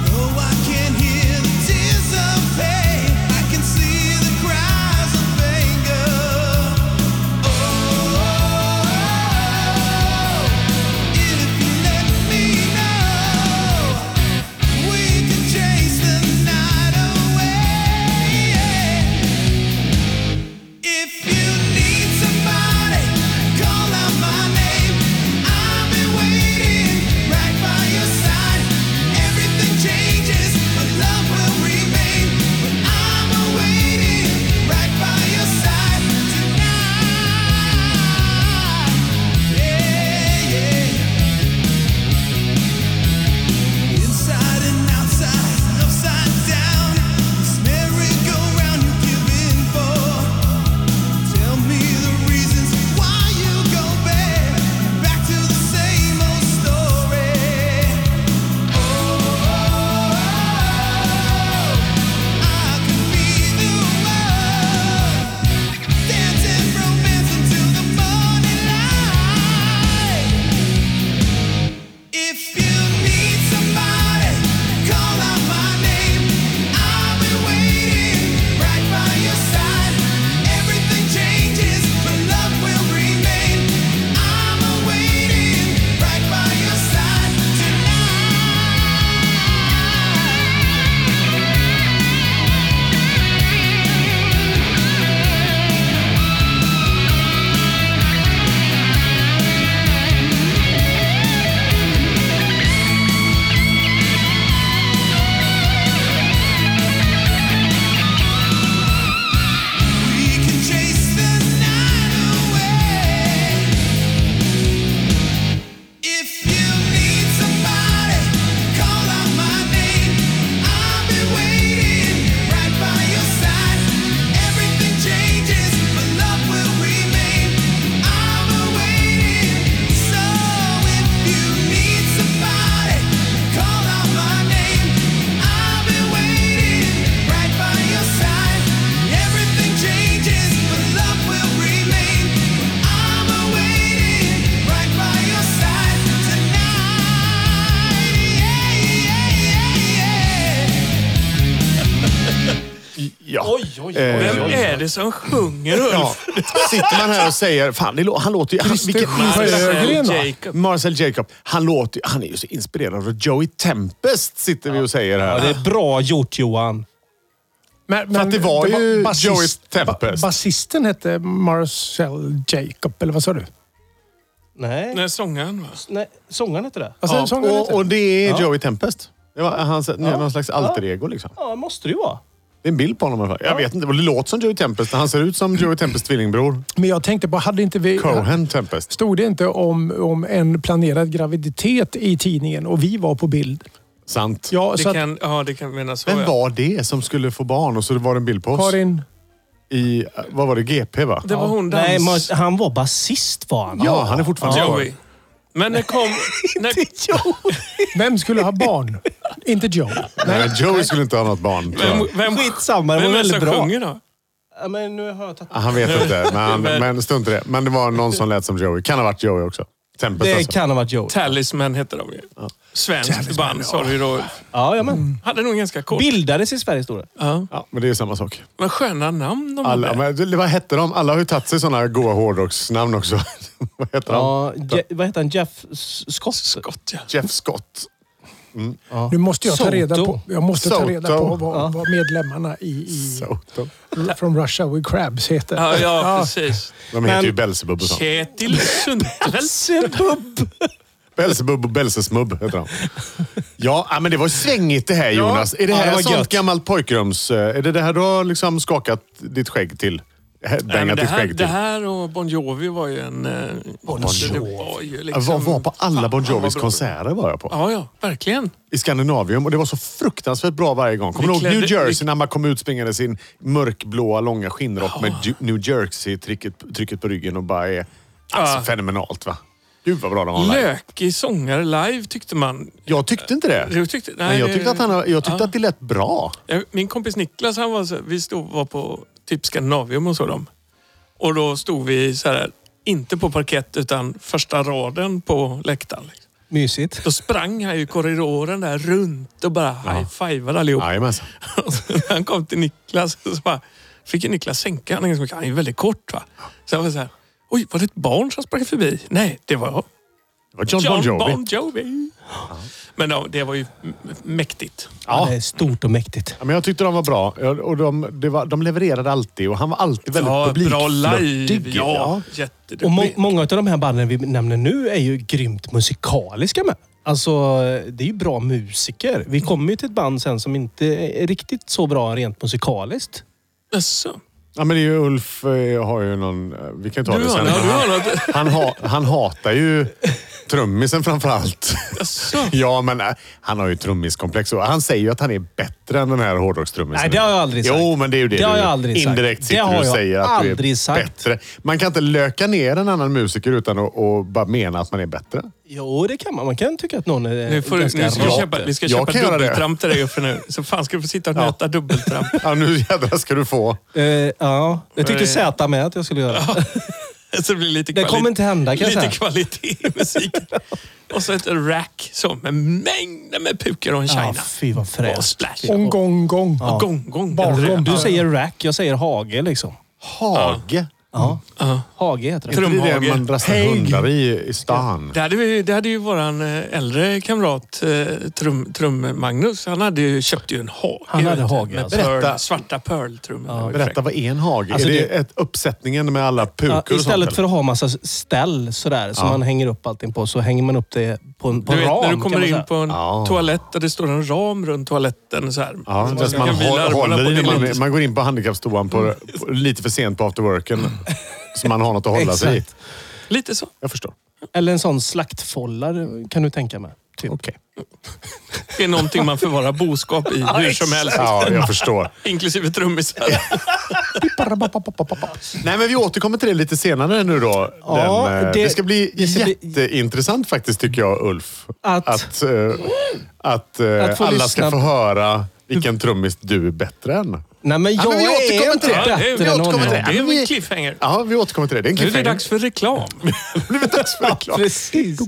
Speaker 6: Though Oh, I can hear the tears of pain, I can see the cries of anger. Oh, If you need somebody, call out my name. I'll be waiting right by your side. Everything changes, but love will remain. But I'm waiting right by your side tonight. Yeah, yeah. Inside and outside, upside down. This merry-go-round you give in for. Tell me the reasons why you go back, back to the same old story. Oh, I could be the one dancing romance until the morning light. If you need somebody, call out my name. I'll be waiting right by your side. Everything changes, but love will remain. I'm waiting right by your side tonight. We can chase the night away. If you need somebody, call out my name. I'll be waiting right by your side. Everything changes, but love will remain. I'm waiting. So if you need somebody, call out my name. I'll be waiting right by your side. Everything changes, but love will remain. I'm waiting right by your side tonight. Yeah,
Speaker 1: Ja.
Speaker 6: yeah, yeah.
Speaker 1: Eh,
Speaker 2: Vem
Speaker 4: Eh.
Speaker 2: är det som sjunger
Speaker 1: Ja.
Speaker 2: Ulf?
Speaker 1: Sitter man här och säger, fan det lå- han låter ju... Han, vilken,
Speaker 3: Sjögren, va?
Speaker 2: Alltså, Jacob.
Speaker 1: Marcel Jacob, han, låter, ju- han är ju så inspirerad av Joey Tempest sitter vi och säger här.
Speaker 4: Ja, det är bra gjort Johan.
Speaker 3: Men,
Speaker 1: att det var ju Joey Tempest.
Speaker 3: Ba, basisten hette Marcel Jacob, eller vad sa du?
Speaker 4: Nej, nej.
Speaker 2: Nej, sångaren va?
Speaker 4: sångaren hette det.
Speaker 3: Vad sa du? Sångaren
Speaker 1: och,
Speaker 3: hette?
Speaker 1: och det är Joey Tempest. Det var hans, någon slags alter ego liksom.
Speaker 4: Ja, måste det ju vara.
Speaker 1: Det är en bild på honom i alla fall. Jag vet inte, det låter som Joey Tempest. Han ser ut som Joey Tempests tvillingbror.
Speaker 3: Men jag tänkte på, hade inte vi...
Speaker 1: Cohen Tempest.
Speaker 3: Stod det inte om, om en planerad graviditet i tidningen och vi var på bild?
Speaker 1: Sant.
Speaker 3: Ja, så
Speaker 2: Det
Speaker 3: att
Speaker 2: kan, ja, det kan menas så.
Speaker 1: Vem
Speaker 2: ja.
Speaker 1: var det som skulle få barn och så var det en bild på oss?
Speaker 3: Karin...
Speaker 1: I, vad var det? GP va?
Speaker 2: Det var hon
Speaker 4: Nej,
Speaker 2: dans...
Speaker 4: men han var basist var han.
Speaker 1: Ja, han är fortfarande kvar.
Speaker 2: Joey. Men när kom...
Speaker 4: [LAUGHS]
Speaker 2: När,
Speaker 3: Vem skulle
Speaker 1: [LAUGHS]
Speaker 3: ha barn? inte Joe.
Speaker 1: Nej, Joey skulle inte ha något barn. tror jag.
Speaker 2: vem, vem,
Speaker 4: Skitsamma, det
Speaker 2: vem
Speaker 4: var
Speaker 2: är det som
Speaker 4: väldigt bra.
Speaker 2: sjunger då?
Speaker 4: Ja, men nu har jag tagit... [LAUGHS]
Speaker 1: Han vet inte, men, men strunt i det. Men det var någon som lät som Joey. Kan ha varit Joey också. Tempest
Speaker 4: Det
Speaker 1: alltså.
Speaker 4: kan ha varit Joe.
Speaker 2: Talisman hette de ju. Svenskt band sa du ju då.
Speaker 4: Ja, jajamän.
Speaker 2: Hade nog ganska kort.
Speaker 4: Bildades i Sveriges stora.
Speaker 2: Ja.
Speaker 1: Ja, men det är ju samma sak.
Speaker 2: Men sköna namn de
Speaker 1: Alla,
Speaker 2: hade.
Speaker 1: men, det- vad hette de? Alla har ju tagit sig sådana goa hårdrocksnamn också. [LAUGHS] vad heter
Speaker 4: Ja,
Speaker 1: de?
Speaker 4: Je- vad heter han? Jeff S- Scott?
Speaker 2: Gott ja.
Speaker 1: Jeff Scott.
Speaker 3: Nu måste jag ta
Speaker 4: Soto.
Speaker 3: reda på, jag måste ta reda på
Speaker 1: Soto.
Speaker 3: vad, vad medlemmarna i, i
Speaker 2: Mm.
Speaker 1: Soto.
Speaker 3: From Russia with Crabs heter.
Speaker 2: Ja, ja precis.
Speaker 1: De heter
Speaker 4: Men-
Speaker 1: ju Belsebub och sånt.
Speaker 2: Kjetil Sundvall.
Speaker 4: Sebub!
Speaker 1: Belsebub och Belsesmubb heter
Speaker 2: [LAUGHS]
Speaker 1: han. Ja, ja, men det var svängigt det här Jonas. Är det
Speaker 4: Ja,
Speaker 1: här
Speaker 4: det var
Speaker 1: sånt
Speaker 4: gött.
Speaker 1: gammalt pojkrums... eh, Är det det här du har liksom skakat ditt skägg till? Eh,
Speaker 2: Nej, men
Speaker 1: Bangat
Speaker 2: det,
Speaker 1: ditt
Speaker 2: här,
Speaker 1: skägg
Speaker 2: det
Speaker 1: till?
Speaker 2: här och Bon Jovi var ju en... eh, alltså, det var ju
Speaker 1: Jag
Speaker 2: liksom-
Speaker 1: var, var på alla Bon
Speaker 2: Fan, vad
Speaker 1: Jovis
Speaker 2: bra.
Speaker 1: konserter var jag på.
Speaker 2: Ja, ja, verkligen.
Speaker 1: I Skandinavium och det var så fruktansvärt bra varje gång. Kommer du
Speaker 2: Vi
Speaker 1: ihåg
Speaker 2: klädde-
Speaker 1: New Jersey
Speaker 2: vi-
Speaker 1: när man kom ut springande sin mörkblåa långa skinnrock med Ju- New Jersey-trycket trycket på ryggen och bara är... Alltså
Speaker 2: Ja.
Speaker 1: fenomenalt va? Gud vad bra de var live.
Speaker 2: Lökig sångare live tyckte man.
Speaker 1: Jag tyckte inte det.
Speaker 2: Du tyckte, nej,
Speaker 1: Men jag
Speaker 2: det-
Speaker 1: tyckte att, han, jag tyckte
Speaker 2: Ja.
Speaker 1: att det lät bra.
Speaker 2: Jag- Eh, Min kompis Niklas, han var så, vi stod, var på typ Skandinavium och så. dem. Och då stod vi så här, inte på parkett utan första raden på läktaren. liksom.
Speaker 4: Mysigt.
Speaker 2: Då sprang han ju i korridoren där runt och bara high-fivade allihop.
Speaker 1: Jajamensan.
Speaker 2: [LAUGHS] Och så när han kom till Niklas så bara, fick ju Niklas sänka han ganska mycket. Han är ju väldigt kort va. Så han var så här, oj var det ett barn som sprang förbi? Nej, det var jag.
Speaker 1: Det var John, Bon Jovi.
Speaker 2: Bon Jovi. Men ja, det var ju m- mäktigt.
Speaker 4: Ja. Det är stort och mäktigt.
Speaker 1: Ja, men jag tyckte de var bra. Ja, Och de, det var, de levererade alltid och han var alltid väldigt
Speaker 2: ja, bra live.
Speaker 1: publikflörtig.
Speaker 2: Ja,
Speaker 4: Och må-
Speaker 2: jätteduktig.
Speaker 4: många av de här banden vi nämner nu är ju grymt musikaliska med. Alltså, det är ju bra musiker. Vi kommer ju till ett band sen som inte är riktigt så bra rent musikaliskt.
Speaker 2: Jaså?
Speaker 1: Ja, men det är ju Ulf eh, har ju någon... eh, Vi kan ju ta
Speaker 2: Du
Speaker 1: det
Speaker 2: har,
Speaker 1: sen.
Speaker 2: ja,
Speaker 1: men
Speaker 2: du
Speaker 1: han,
Speaker 2: har något.
Speaker 1: han, ha, han hatar ju trummisen framför allt.
Speaker 2: Jaså?
Speaker 1: Ja, men eh, han har ju trummiskomplex. och Han säger ju att han är bättre än den här hårdrockstrummisen.
Speaker 4: Nej, det har jag aldrig sagt.
Speaker 1: Jo, men det är ju det,
Speaker 4: Det har
Speaker 1: du
Speaker 4: jag aldrig sagt.
Speaker 1: indirekt
Speaker 4: Det
Speaker 1: sitter
Speaker 4: har
Speaker 1: du och
Speaker 4: jag
Speaker 1: säger att du är
Speaker 4: aldrig sagt.
Speaker 1: bättre. Man kan inte löka ner en annan musiker utan att och bara mena att man är bättre.
Speaker 4: Jo, det kan man. Man kan tycka att någon är
Speaker 2: Nu får, du-
Speaker 4: ganska
Speaker 2: nu ska vi
Speaker 4: rak.
Speaker 2: köpa, vi ska
Speaker 1: Jag
Speaker 2: köpa
Speaker 1: kan göra det.
Speaker 2: dubbeltramp till dig Uffe nu. Så fan ska du få sitta och nöta dubbeltramp.
Speaker 1: Ja, nu jädrar ska du få.
Speaker 4: Eh, ja, det tyckte
Speaker 2: Nej.
Speaker 4: Z med att jag skulle göra.
Speaker 2: [LAUGHS] Så det, blir lite
Speaker 4: Det kommer inte hända, kan jag
Speaker 2: Lite
Speaker 4: säga.
Speaker 2: kvalitet i
Speaker 4: [LAUGHS]
Speaker 2: musiken. och så ett rack så, med mängder med pukor och en
Speaker 4: Ja,
Speaker 2: china.
Speaker 4: fy vad
Speaker 2: och
Speaker 4: fräscht.
Speaker 2: splash. Och
Speaker 3: Om gång gång.
Speaker 2: gong, gong.
Speaker 3: Bakom.
Speaker 4: Du säger rack, jag säger hage liksom.
Speaker 1: Hage.
Speaker 4: Ja. Hage heter det.
Speaker 2: Trum-
Speaker 1: Är det det
Speaker 2: Trumhage.
Speaker 1: man rastar hundar i, i stan?
Speaker 2: Det hade, vi, det hade ju våran eh, äldre kamrat eh, Trum, Trum Magnus. Han hade ju, köpte ju en hage.
Speaker 4: Han hade
Speaker 2: vet du,
Speaker 4: hage,
Speaker 2: Med
Speaker 4: alltså.
Speaker 2: pearl,
Speaker 1: Berätta.
Speaker 2: svarta pearl-trummor. Det var ju
Speaker 1: Berätta,
Speaker 2: fräckt.
Speaker 1: vad är en hage?
Speaker 4: Alltså,
Speaker 1: är det,
Speaker 4: det-
Speaker 1: ett, uppsättningen med alla pukor
Speaker 4: Ja,
Speaker 1: och sånt?
Speaker 4: istället för
Speaker 1: eller?
Speaker 4: att ha massa ställ sådär, som man hänger upp allting på, så hänger man upp det på en på
Speaker 2: Du
Speaker 4: en
Speaker 2: vet
Speaker 4: ram.
Speaker 2: när du
Speaker 4: kan man
Speaker 2: kommer in
Speaker 4: säga.
Speaker 2: på en
Speaker 1: Ja.
Speaker 2: toalett och det står en ram runt toaletten. Så här.
Speaker 1: Ja,
Speaker 2: Så
Speaker 1: fast
Speaker 2: du
Speaker 1: man
Speaker 2: kan vila
Speaker 1: håller,
Speaker 2: armarna
Speaker 1: håller
Speaker 2: på
Speaker 1: i
Speaker 2: din
Speaker 1: det. Man,
Speaker 2: långs-
Speaker 1: man går in på handikappstoan på, på, lite för sent på afterworken. så man har något att hålla sig i.
Speaker 4: Exakt.
Speaker 2: Lite så.
Speaker 1: Jag förstår.
Speaker 4: Eller en sån slaktfollare kan du tänka mig. Typ.
Speaker 1: Okej.
Speaker 2: Det är någonting man förvarar boskap i hur som
Speaker 1: [LAUGHS]
Speaker 2: helst.
Speaker 1: Ja, jag förstår. [LAUGHS]
Speaker 2: Inklusive trummisar.
Speaker 1: Nej, men vi återkommer till det lite senare nu då.
Speaker 4: Ja,
Speaker 1: Den, eh, det,
Speaker 4: det-
Speaker 1: ska bli
Speaker 4: det ska bli-
Speaker 1: jätteintressant faktiskt tycker jag, Ulf.
Speaker 4: Att-
Speaker 1: att, eh, att, eh,
Speaker 4: Att få
Speaker 1: alla
Speaker 4: lyssna-
Speaker 1: ska få höra vilken trummis du är bättre än.
Speaker 4: Nej, men jag
Speaker 1: men vi återkommer
Speaker 4: är
Speaker 1: till det.
Speaker 4: inte
Speaker 2: Ja, det är- vi
Speaker 4: bättre än
Speaker 1: återkommer
Speaker 4: honom.
Speaker 1: till
Speaker 2: Det
Speaker 1: Ja, men
Speaker 2: är en
Speaker 1: vi-
Speaker 2: cliffhanger.
Speaker 1: Ja, vi återkommer till det. Det är en
Speaker 2: Nu är det
Speaker 1: cliffhanger.
Speaker 2: dags för reklam.
Speaker 1: Nu är det dags för reklam.
Speaker 4: Precis.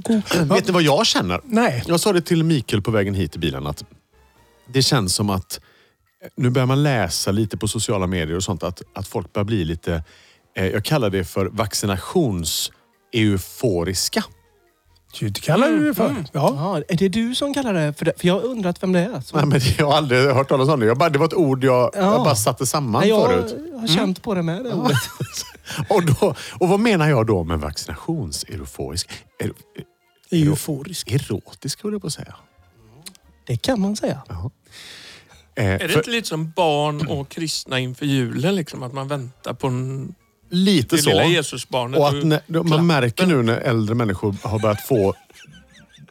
Speaker 1: Vet ni vad jag känner?
Speaker 3: Nej.
Speaker 1: Jag sa det till Mikael på vägen hit i bilen att det känns som att nu börjar man läsa lite på sociala medier och sånt att, att folk börjar bli lite, eh, jag kallar det för vaccinations-euforiska.
Speaker 3: Det kallar du det för. Ja.
Speaker 4: Ja, är det du som kallar det för det? För jag har undrat vem det är. som-
Speaker 1: Nej, men jag har aldrig hört talas om det. Jag bara, det var ett ord jag, jag bara satte samman
Speaker 4: Nej, jag
Speaker 1: förut. Mm.
Speaker 4: har känt på det med. Det ordet.
Speaker 1: Och, då, och vad menar jag då med vaccinations-euforisk? Er,
Speaker 3: Euforisk.
Speaker 1: erotisk höll jag på att säga.
Speaker 4: Det kan man säga.
Speaker 1: Eh,
Speaker 2: Är det
Speaker 1: för-
Speaker 2: inte lite som barn och kristna inför julen? Liksom, att man väntar på en,
Speaker 1: lite
Speaker 2: det
Speaker 1: så.
Speaker 2: lilla Jesusbarnet.
Speaker 1: Och att när, då- man märker nu när äldre människor har börjat få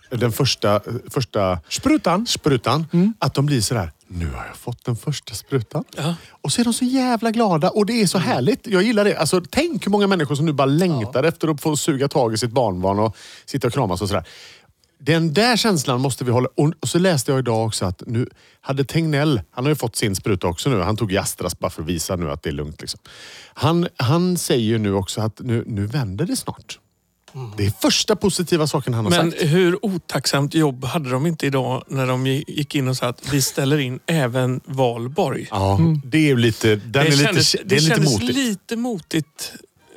Speaker 1: den första, första
Speaker 3: Sprutan.
Speaker 1: sprutan, att de blir sådär, nu har jag fått den första sprutan.
Speaker 2: Ja. Mm.
Speaker 1: Och så är de så jävla glada och det är så härligt. Jag gillar det. Alltså, tänk hur många människor som nu bara längtar efter att få suga tag i sitt barnbarn och sitta och kramas och sådär. Den där känslan måste vi hålla... Och och så läste jag idag också att nu hade Tegnell, han har ju fått sin spruta också nu. Han tog ju Astras bara för att visa nu att det är lugnt. Liksom. Han, han säger ju nu också att nu, nu vänder det snart. Det är första positiva saken han har
Speaker 2: Mm. Men
Speaker 1: sagt.
Speaker 2: hur otacksamt jobb hade de inte idag när de gi- gick in och sa att vi ställer in även valborg?
Speaker 1: Ja, det är ju lite... Den är lite, det är lite
Speaker 2: kändes
Speaker 1: motigt.
Speaker 2: lite motigt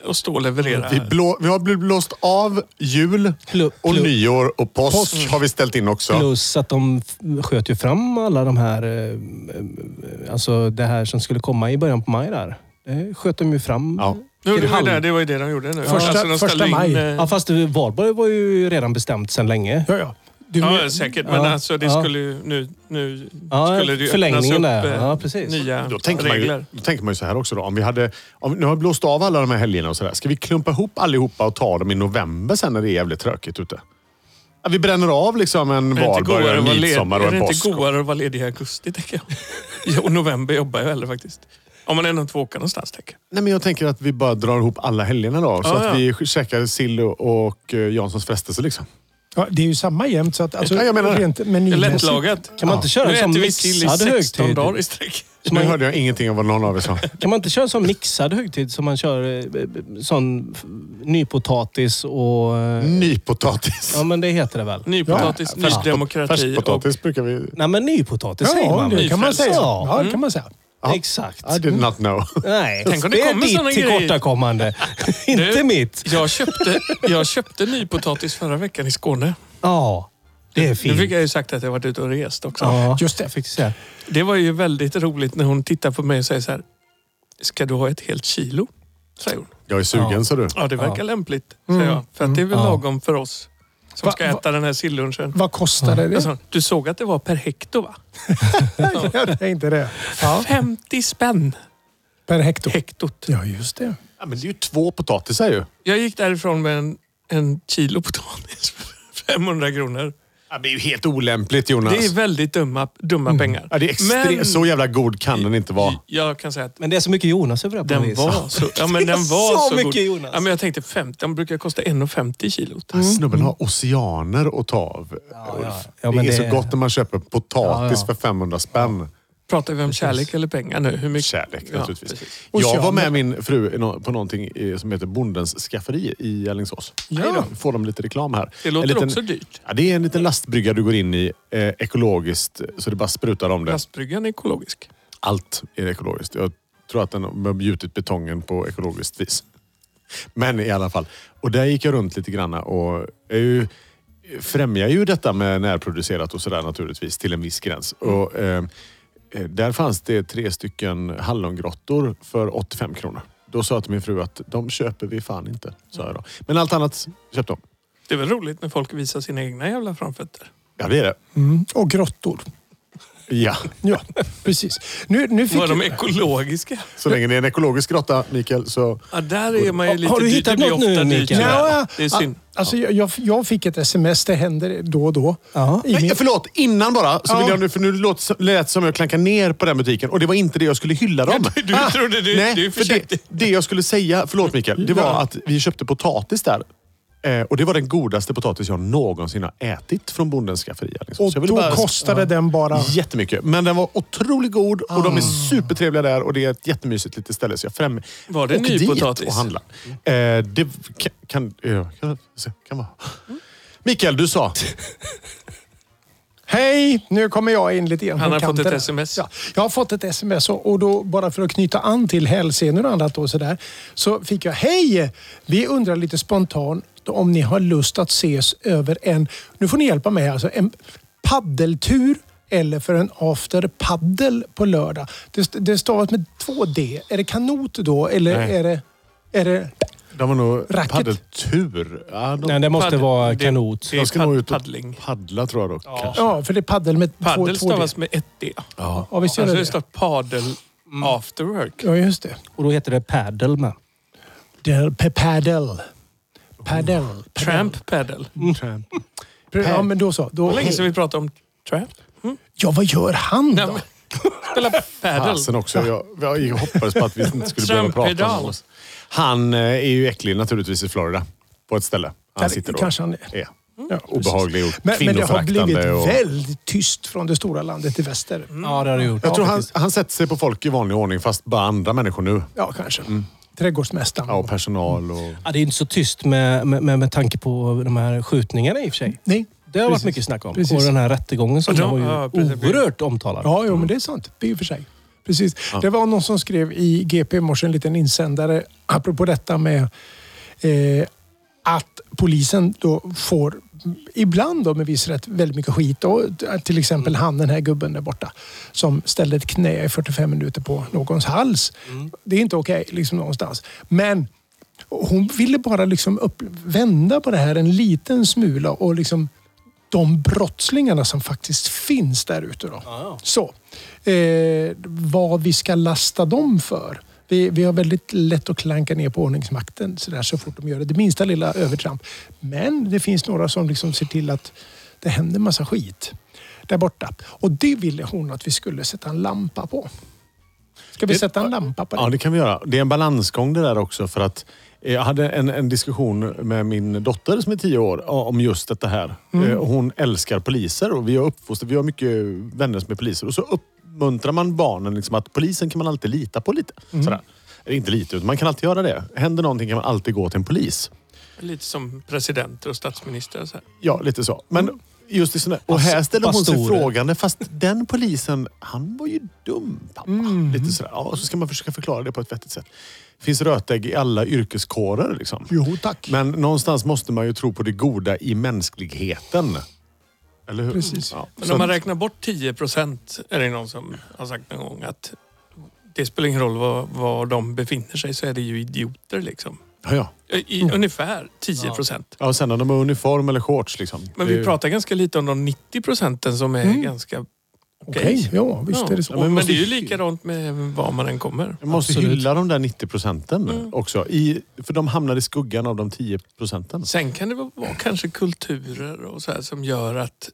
Speaker 2: att stå och leverera.
Speaker 1: Vi, blå, vi har blivit blåst av jul
Speaker 4: Plu-
Speaker 1: och
Speaker 4: plu-
Speaker 1: nyår och påsk, har vi ställt in också.
Speaker 4: Plus att de f- sköt ju fram alla de här... eh, eh, Alltså det här som skulle komma i början på maj där. Det sköt de ju fram.
Speaker 1: Ja.
Speaker 2: Jo, det, var
Speaker 4: halv-
Speaker 2: ju det, det var ju det de gjorde nu.
Speaker 3: Första-
Speaker 2: de
Speaker 3: första
Speaker 2: ställde
Speaker 3: maj.
Speaker 2: eh,
Speaker 4: Ja, fast det- Valborg var ju redan bestämt sedan länge.
Speaker 3: Ja, ja. Du, men-
Speaker 2: Ja, säkert. Men
Speaker 4: Ja,
Speaker 2: alltså, det
Speaker 4: ja.
Speaker 2: skulle ju nu, nu
Speaker 4: Ja,
Speaker 2: skulle det ju öppnas
Speaker 4: förlängningen
Speaker 2: upp
Speaker 4: där.
Speaker 2: eh,
Speaker 4: Ja, precis.
Speaker 2: nya
Speaker 1: Då tänker, man
Speaker 2: regler.
Speaker 1: ju, då tänker man ju så här också då. Om vi hade, om, vi nu har vi blåst av alla de här helgerna och sådär. Ska vi klumpa ihop allihopa och ta dem i november sen när det är jävligt trökigt ute? Ja, vi bränner av liksom en
Speaker 2: Är det inte
Speaker 1: valborg,
Speaker 2: godare
Speaker 1: en
Speaker 2: att vara led-
Speaker 1: midsommar och
Speaker 2: Är det
Speaker 1: en
Speaker 2: inte
Speaker 1: påsk.
Speaker 2: godare att vara ledig i augusti, tänker jag? [LAUGHS] Jo, november jobbar jag hellre faktiskt. Om man ändå inte får åka någonstans, tänker jag.
Speaker 1: Nej, men jag tänker att vi bara drar ihop alla helgerna då. Så
Speaker 2: Ja,
Speaker 1: att
Speaker 2: ja.
Speaker 1: vi käkar sill och, och eh, Janssons frestelse liksom.
Speaker 3: ja, det är ju samma jämt. Så att, alltså,
Speaker 1: Ja, jag menar det.
Speaker 3: rent
Speaker 2: Det är
Speaker 3: menymässigt.
Speaker 2: lättlagat.
Speaker 4: Kan man inte köra
Speaker 2: Nu
Speaker 4: som
Speaker 2: äter vi sill i
Speaker 4: mixad
Speaker 2: 16
Speaker 4: högtid?
Speaker 2: dagar i sträck.
Speaker 1: Nu hörde jag ingenting av vad någon av er sa.
Speaker 4: Kan man inte köra som mixad högtid som man kör eh, b- b- sån f- nypotatis och... eh,
Speaker 1: Nypotatis.
Speaker 4: Ja, men det heter det väl?
Speaker 2: [LAUGHS] Nypotatis, Mm. ny demokrati och
Speaker 1: Färskpotatis brukar vi...
Speaker 4: Nej, men nypotatis säger
Speaker 3: Ja,
Speaker 4: man
Speaker 3: det
Speaker 4: väl?
Speaker 3: kan man säga.
Speaker 4: Ja,
Speaker 3: Ja, det kan man säga.
Speaker 4: exakt.
Speaker 1: I did not know.
Speaker 4: Nej,
Speaker 2: Tänk om det
Speaker 4: det är
Speaker 2: kommer såna
Speaker 4: ditt
Speaker 2: grejer. [LAUGHS]
Speaker 4: tillkortakommande. Inte
Speaker 2: Du-
Speaker 4: mitt.
Speaker 2: Jag köpte, jag köpte nypotatis förra veckan i Skåne.
Speaker 4: Ja, det är
Speaker 2: Nu fick
Speaker 4: fint.
Speaker 2: jag ju sagt att jag varit ute och rest också.
Speaker 4: Ja,
Speaker 3: Just det.
Speaker 4: jag fick säga.
Speaker 2: Det var ju väldigt roligt när hon tittar på mig och säger så här. Ska du ha ett helt kilo? Säger hon.
Speaker 1: Jag är sugen,
Speaker 4: Ja.
Speaker 1: sa du.
Speaker 2: Ja, det verkar lämpligt, säger jag. För att det är väl
Speaker 4: Ja.
Speaker 2: lagom för oss som
Speaker 3: Va-
Speaker 2: ska
Speaker 3: va-
Speaker 2: äta den här sillunchen.
Speaker 3: Vad kostade
Speaker 2: Jag
Speaker 3: det?
Speaker 2: sa, Du såg att det var per hekto va?
Speaker 3: Ja, det är inte det. Ja,
Speaker 2: 50 spänn
Speaker 3: per hekto.
Speaker 2: hektot.
Speaker 3: Ja, just det.
Speaker 1: Ja, men det är ju två potatisar ju.
Speaker 2: Jag gick därifrån med en, en kilo potatis för 500 kronor.
Speaker 1: Ja, det är ju helt olämpligt, Jonas.
Speaker 2: Det är väldigt dumma, dumma pengar.
Speaker 1: alltså- Ja, det är extre-
Speaker 2: Men Mm.
Speaker 1: Så jävla god kan den inte vara.
Speaker 2: jag kan säga att
Speaker 4: Men det är så mycket Jonas över det här på något
Speaker 2: den
Speaker 4: vis.
Speaker 2: var så, ja, men
Speaker 4: Det är
Speaker 2: den var så,
Speaker 4: så mycket,
Speaker 2: god.
Speaker 4: Jonas.
Speaker 2: Ja, men jag tänkte 50, den brukar kosta 1,50 kilot.
Speaker 1: Snubben har oceaner att ta av. Ulf.
Speaker 4: Ja, men
Speaker 1: det är
Speaker 4: det-
Speaker 1: så gott när man köper potatis
Speaker 4: Ja, ja.
Speaker 1: för 500 spänn.
Speaker 2: Pratar vi om kärlek eller pengar nu? Hur mycket?
Speaker 1: Kärlek
Speaker 2: Ja,
Speaker 1: naturligtvis.
Speaker 2: precis.
Speaker 1: jag var med min fru i nå- på någonting eh, som heter Bondens skafferi i Alingsås.
Speaker 2: Ja.
Speaker 1: Hej då, Får de lite reklam här.
Speaker 2: Det låter
Speaker 1: En liten,
Speaker 2: också dyrt.
Speaker 1: Ja, det är en liten lastbrygga du går in i, eh, ekologiskt, så det bara sprutar om det.
Speaker 2: Plastbryggan är ekologisk.
Speaker 1: Allt är ekologiskt. Jag tror att den har gjutit betongen på ekologiskt vis. Men i alla fall. Och där gick jag runt lite grann och är ju, främjar ju detta med närproducerat och sådär naturligtvis till en viss gräns. Och, eh, eh, där fanns det tre stycken hallongrottor för 85 kronor. Då sa jag till min fru att de köper vi fan inte. Sa jag då. Men allt annat köpte de.
Speaker 2: Det är väl roligt när folk visar sina egna jävla framfötter.
Speaker 1: Ja, det är det.
Speaker 3: Mm. Och grottor.
Speaker 1: Ja.
Speaker 3: Ja, precis. Nu, nu fick
Speaker 2: Var de ekologiska?
Speaker 1: Så länge det är en ekologisk grotta, Mikael, så...
Speaker 2: Ja, där är man ju
Speaker 4: Har-
Speaker 2: lite
Speaker 4: har du
Speaker 2: dyr.
Speaker 4: hittat
Speaker 2: det blir
Speaker 4: något nu,
Speaker 2: ofta dyrt,
Speaker 4: Mikael?
Speaker 2: tyvärr.
Speaker 3: Ja,
Speaker 2: Det är synd.
Speaker 3: Alltså, jag, jag- jag fick ett sms, det händer då och då.
Speaker 4: Ja.
Speaker 3: I min...
Speaker 1: Nej, förlåt, innan bara. Så
Speaker 3: Ja.
Speaker 1: vill jag nu, för nu låt, lät det som jag klankar ner på den butiken och det var inte det jag skulle hylla dem. Ah,
Speaker 2: Ja, [LAUGHS] du trodde det-
Speaker 1: Nej,
Speaker 2: du är
Speaker 1: för det,
Speaker 2: försiktig.
Speaker 1: det jag skulle säga, förlåt Mikael, det var
Speaker 3: Ja.
Speaker 1: att vi köpte potatis där. Eh, och det var den godaste potatis jag någonsin har ätit från Bondens skafferi. Liksom.
Speaker 3: Och då kostade den bara...
Speaker 1: Jättemycket. Men den var otroligt god och de är supertrevliga där och det är ett jättemysigt litet ställe. Så jag främ...
Speaker 2: Ah. Var det
Speaker 1: Åk dit
Speaker 2: nypotatis?
Speaker 1: och handla. Eh, det kan, kan, eh, kan, kan vara...
Speaker 2: Mm.
Speaker 1: Mikael, du sa...
Speaker 3: Hej, nu kommer jag in lite igen.
Speaker 2: Han
Speaker 3: på
Speaker 2: har fått
Speaker 3: kanten.
Speaker 2: ett sms.
Speaker 3: Ja, jag har fått ett sms och, och då bara för att knyta an till hälsenor och annat då, så, där, så fick jag hej! Vi undrar lite spontant om ni har lust att ses över en, nu får ni hjälpa mig här, alltså en paddeltur eller för en after paddel på lördag. Det, st- det stavas med två D. Är det kanot då eller
Speaker 1: Nej.
Speaker 3: är det... Är det
Speaker 1: De var nog
Speaker 3: Racket.
Speaker 1: paddeltur. Ja, de,
Speaker 4: Nej, det måste
Speaker 2: Padd-
Speaker 4: vara
Speaker 2: det-
Speaker 4: kanot.
Speaker 2: det-
Speaker 1: de ska nog ut och
Speaker 2: paddling.
Speaker 1: paddla tror jag då. Kanske.
Speaker 3: ja, för det är paddel med
Speaker 2: Paddel
Speaker 3: två, två D.
Speaker 2: stavas med ett D.
Speaker 1: Ja.
Speaker 3: Ja, visst
Speaker 2: Alltså det
Speaker 3: gör
Speaker 2: Mm.
Speaker 3: det det?
Speaker 2: står paddel after work.
Speaker 3: Ja, just det.
Speaker 4: Och då heter det paddle med.
Speaker 3: Del, pe- paddel. Paddel. paddel.
Speaker 2: Tramp paddel.
Speaker 3: Ja, men då så.
Speaker 2: Det
Speaker 3: Då,
Speaker 2: var länge sedan vi pratade om tramp.
Speaker 3: ja, vad gör han
Speaker 2: Nej,
Speaker 3: då?
Speaker 2: men, [LAUGHS] spela paddel.
Speaker 1: Fasen också. Jag, jag hoppades på att vi inte skulle behöva prata om
Speaker 2: Strömpedal.
Speaker 1: honom. Han eh, är ju äcklig naturligtvis i Florida. På ett ställe.
Speaker 3: Ja,
Speaker 1: Han
Speaker 3: det
Speaker 1: sitter och
Speaker 3: kanske han är. Ja, precis.
Speaker 1: obehaglig och
Speaker 3: men, men det har blivit
Speaker 1: kvinnoföraktande. och-
Speaker 3: väldigt tyst från det stora landet i väster.
Speaker 4: Ja, det har du gjort.
Speaker 1: Jag tror han, han sätter sig på folk i vanlig ordning fast bara andra människor nu.
Speaker 3: Ja, kanske. trädgårdsmästaren.
Speaker 1: Mm. Ja, och personal och...
Speaker 4: Ja, det är inte så tyst med, med, med, med tanke på de här skjutningarna i och för sig.
Speaker 3: Nej.
Speaker 4: Det har
Speaker 3: Precis.
Speaker 4: varit mycket snack om.
Speaker 3: Precis.
Speaker 4: Och den här rättegången som
Speaker 2: Ja,
Speaker 4: var ju
Speaker 2: ja, precis.
Speaker 4: oerhört omtalad.
Speaker 3: Ja, jo, men det är sant. Det är ju för sig. Precis. Det var någon som skrev i GP i morse en liten insändare apropå detta med eh, att polisen då får mm, ibland då med viss rätt väldigt mycket skit. Och, t- till exempel han den här gubben där borta som ställde ett knä i 45 minuter på någons hals. Det är inte okej liksom någonstans. Men hon ville bara liksom upp, vända på det här en liten smula och liksom de brottslingarna som faktiskt finns där ute. Då.
Speaker 1: Ah.
Speaker 3: Så, eh, vad vi ska lasta dem för. Vi, vi har väldigt lätt att klanka ner på ordningsmakten så, där, så fort de gör det, det minsta lilla övertramp. Men det finns några som liksom ser till att det händer massa skit där borta. Och det ville hon att vi skulle sätta en lampa på. Ska vi
Speaker 1: Det-
Speaker 3: sätta en lampa på det?
Speaker 1: Ja, det kan vi göra. Det är en balansgång det där också. För att eh, jag hade en, en diskussion med min dotter som är tio år ja, om just detta här. Eh, och Hon älskar poliser och vi har uppfostrat, vi har mycket vänner som är poliser. Och så uppmuntrar man barnen liksom att polisen kan man alltid lita på lite. Sådär. Eller inte lite, utan man kan alltid göra det. Händer någonting kan man alltid gå till en polis.
Speaker 2: Lite som presidenter och statsministrar. Så här.
Speaker 1: Ja, lite så. Men
Speaker 3: Mm.
Speaker 1: just i sån där, och här ställer hon sig
Speaker 4: pastorer.
Speaker 1: frågande. Fast den polisen, han var ju dum pappa.
Speaker 3: Mm.
Speaker 1: Lite sådär. Ja, och så ska man försöka förklara det på ett vettigt sätt. Det finns rötägg i alla yrkeskårer. Liksom.
Speaker 3: Jo tack.
Speaker 1: Men någonstans måste man ju tro på det goda i mänskligheten. Eller hur?
Speaker 3: Precis.
Speaker 1: Ja.
Speaker 2: Men
Speaker 1: Så
Speaker 2: om man
Speaker 1: att-
Speaker 2: räknar bort 10 procent är det någon som har sagt någon gång att det spelar ingen roll var, var de befinner sig så är det ju idioter liksom.
Speaker 1: ja, ja.
Speaker 2: I,
Speaker 1: Mm.
Speaker 2: Ungefär 10 procent.
Speaker 1: ja, och sen när de har uniform eller shorts. Liksom.
Speaker 2: Men
Speaker 1: Det är
Speaker 2: vi
Speaker 1: ju- Mm.
Speaker 2: pratar ganska lite om de 90 procenten som är ganska okej.
Speaker 3: Okej, ja visst
Speaker 2: Ja.
Speaker 3: är det så.
Speaker 2: Och- Men,
Speaker 1: måste
Speaker 2: det är ju
Speaker 1: ju-
Speaker 2: likadant med var man än kommer.
Speaker 1: Man måste
Speaker 4: Absolut.
Speaker 1: hylla de där 90 procenten
Speaker 2: Mm.
Speaker 1: också. I, för de hamnar i skuggan av de 10 procenten.
Speaker 2: Sen kan det vara vara kanske kulturer och så här som gör att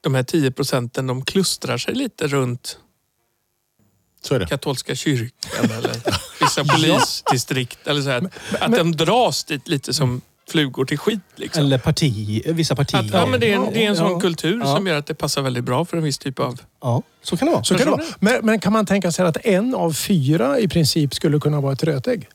Speaker 2: de här 10 procenten de klustrar sig lite runt
Speaker 1: Så är det.
Speaker 2: katolska kyrkan eller vissa polisdistrikt. Eller så här, att de dras dit lite som flugor till skit. Liksom.
Speaker 4: Eller parti, vissa partier.
Speaker 2: Att, ja, men det är en, det är en sån
Speaker 4: Ja.
Speaker 2: kultur
Speaker 4: Ja.
Speaker 2: som gör att det passar väldigt bra för en viss typ av...
Speaker 4: Ja, så kan det vara.
Speaker 3: Så kan det vara. Men, men kan man tänka sig att en av fyra i princip skulle kunna vara ett rötägg?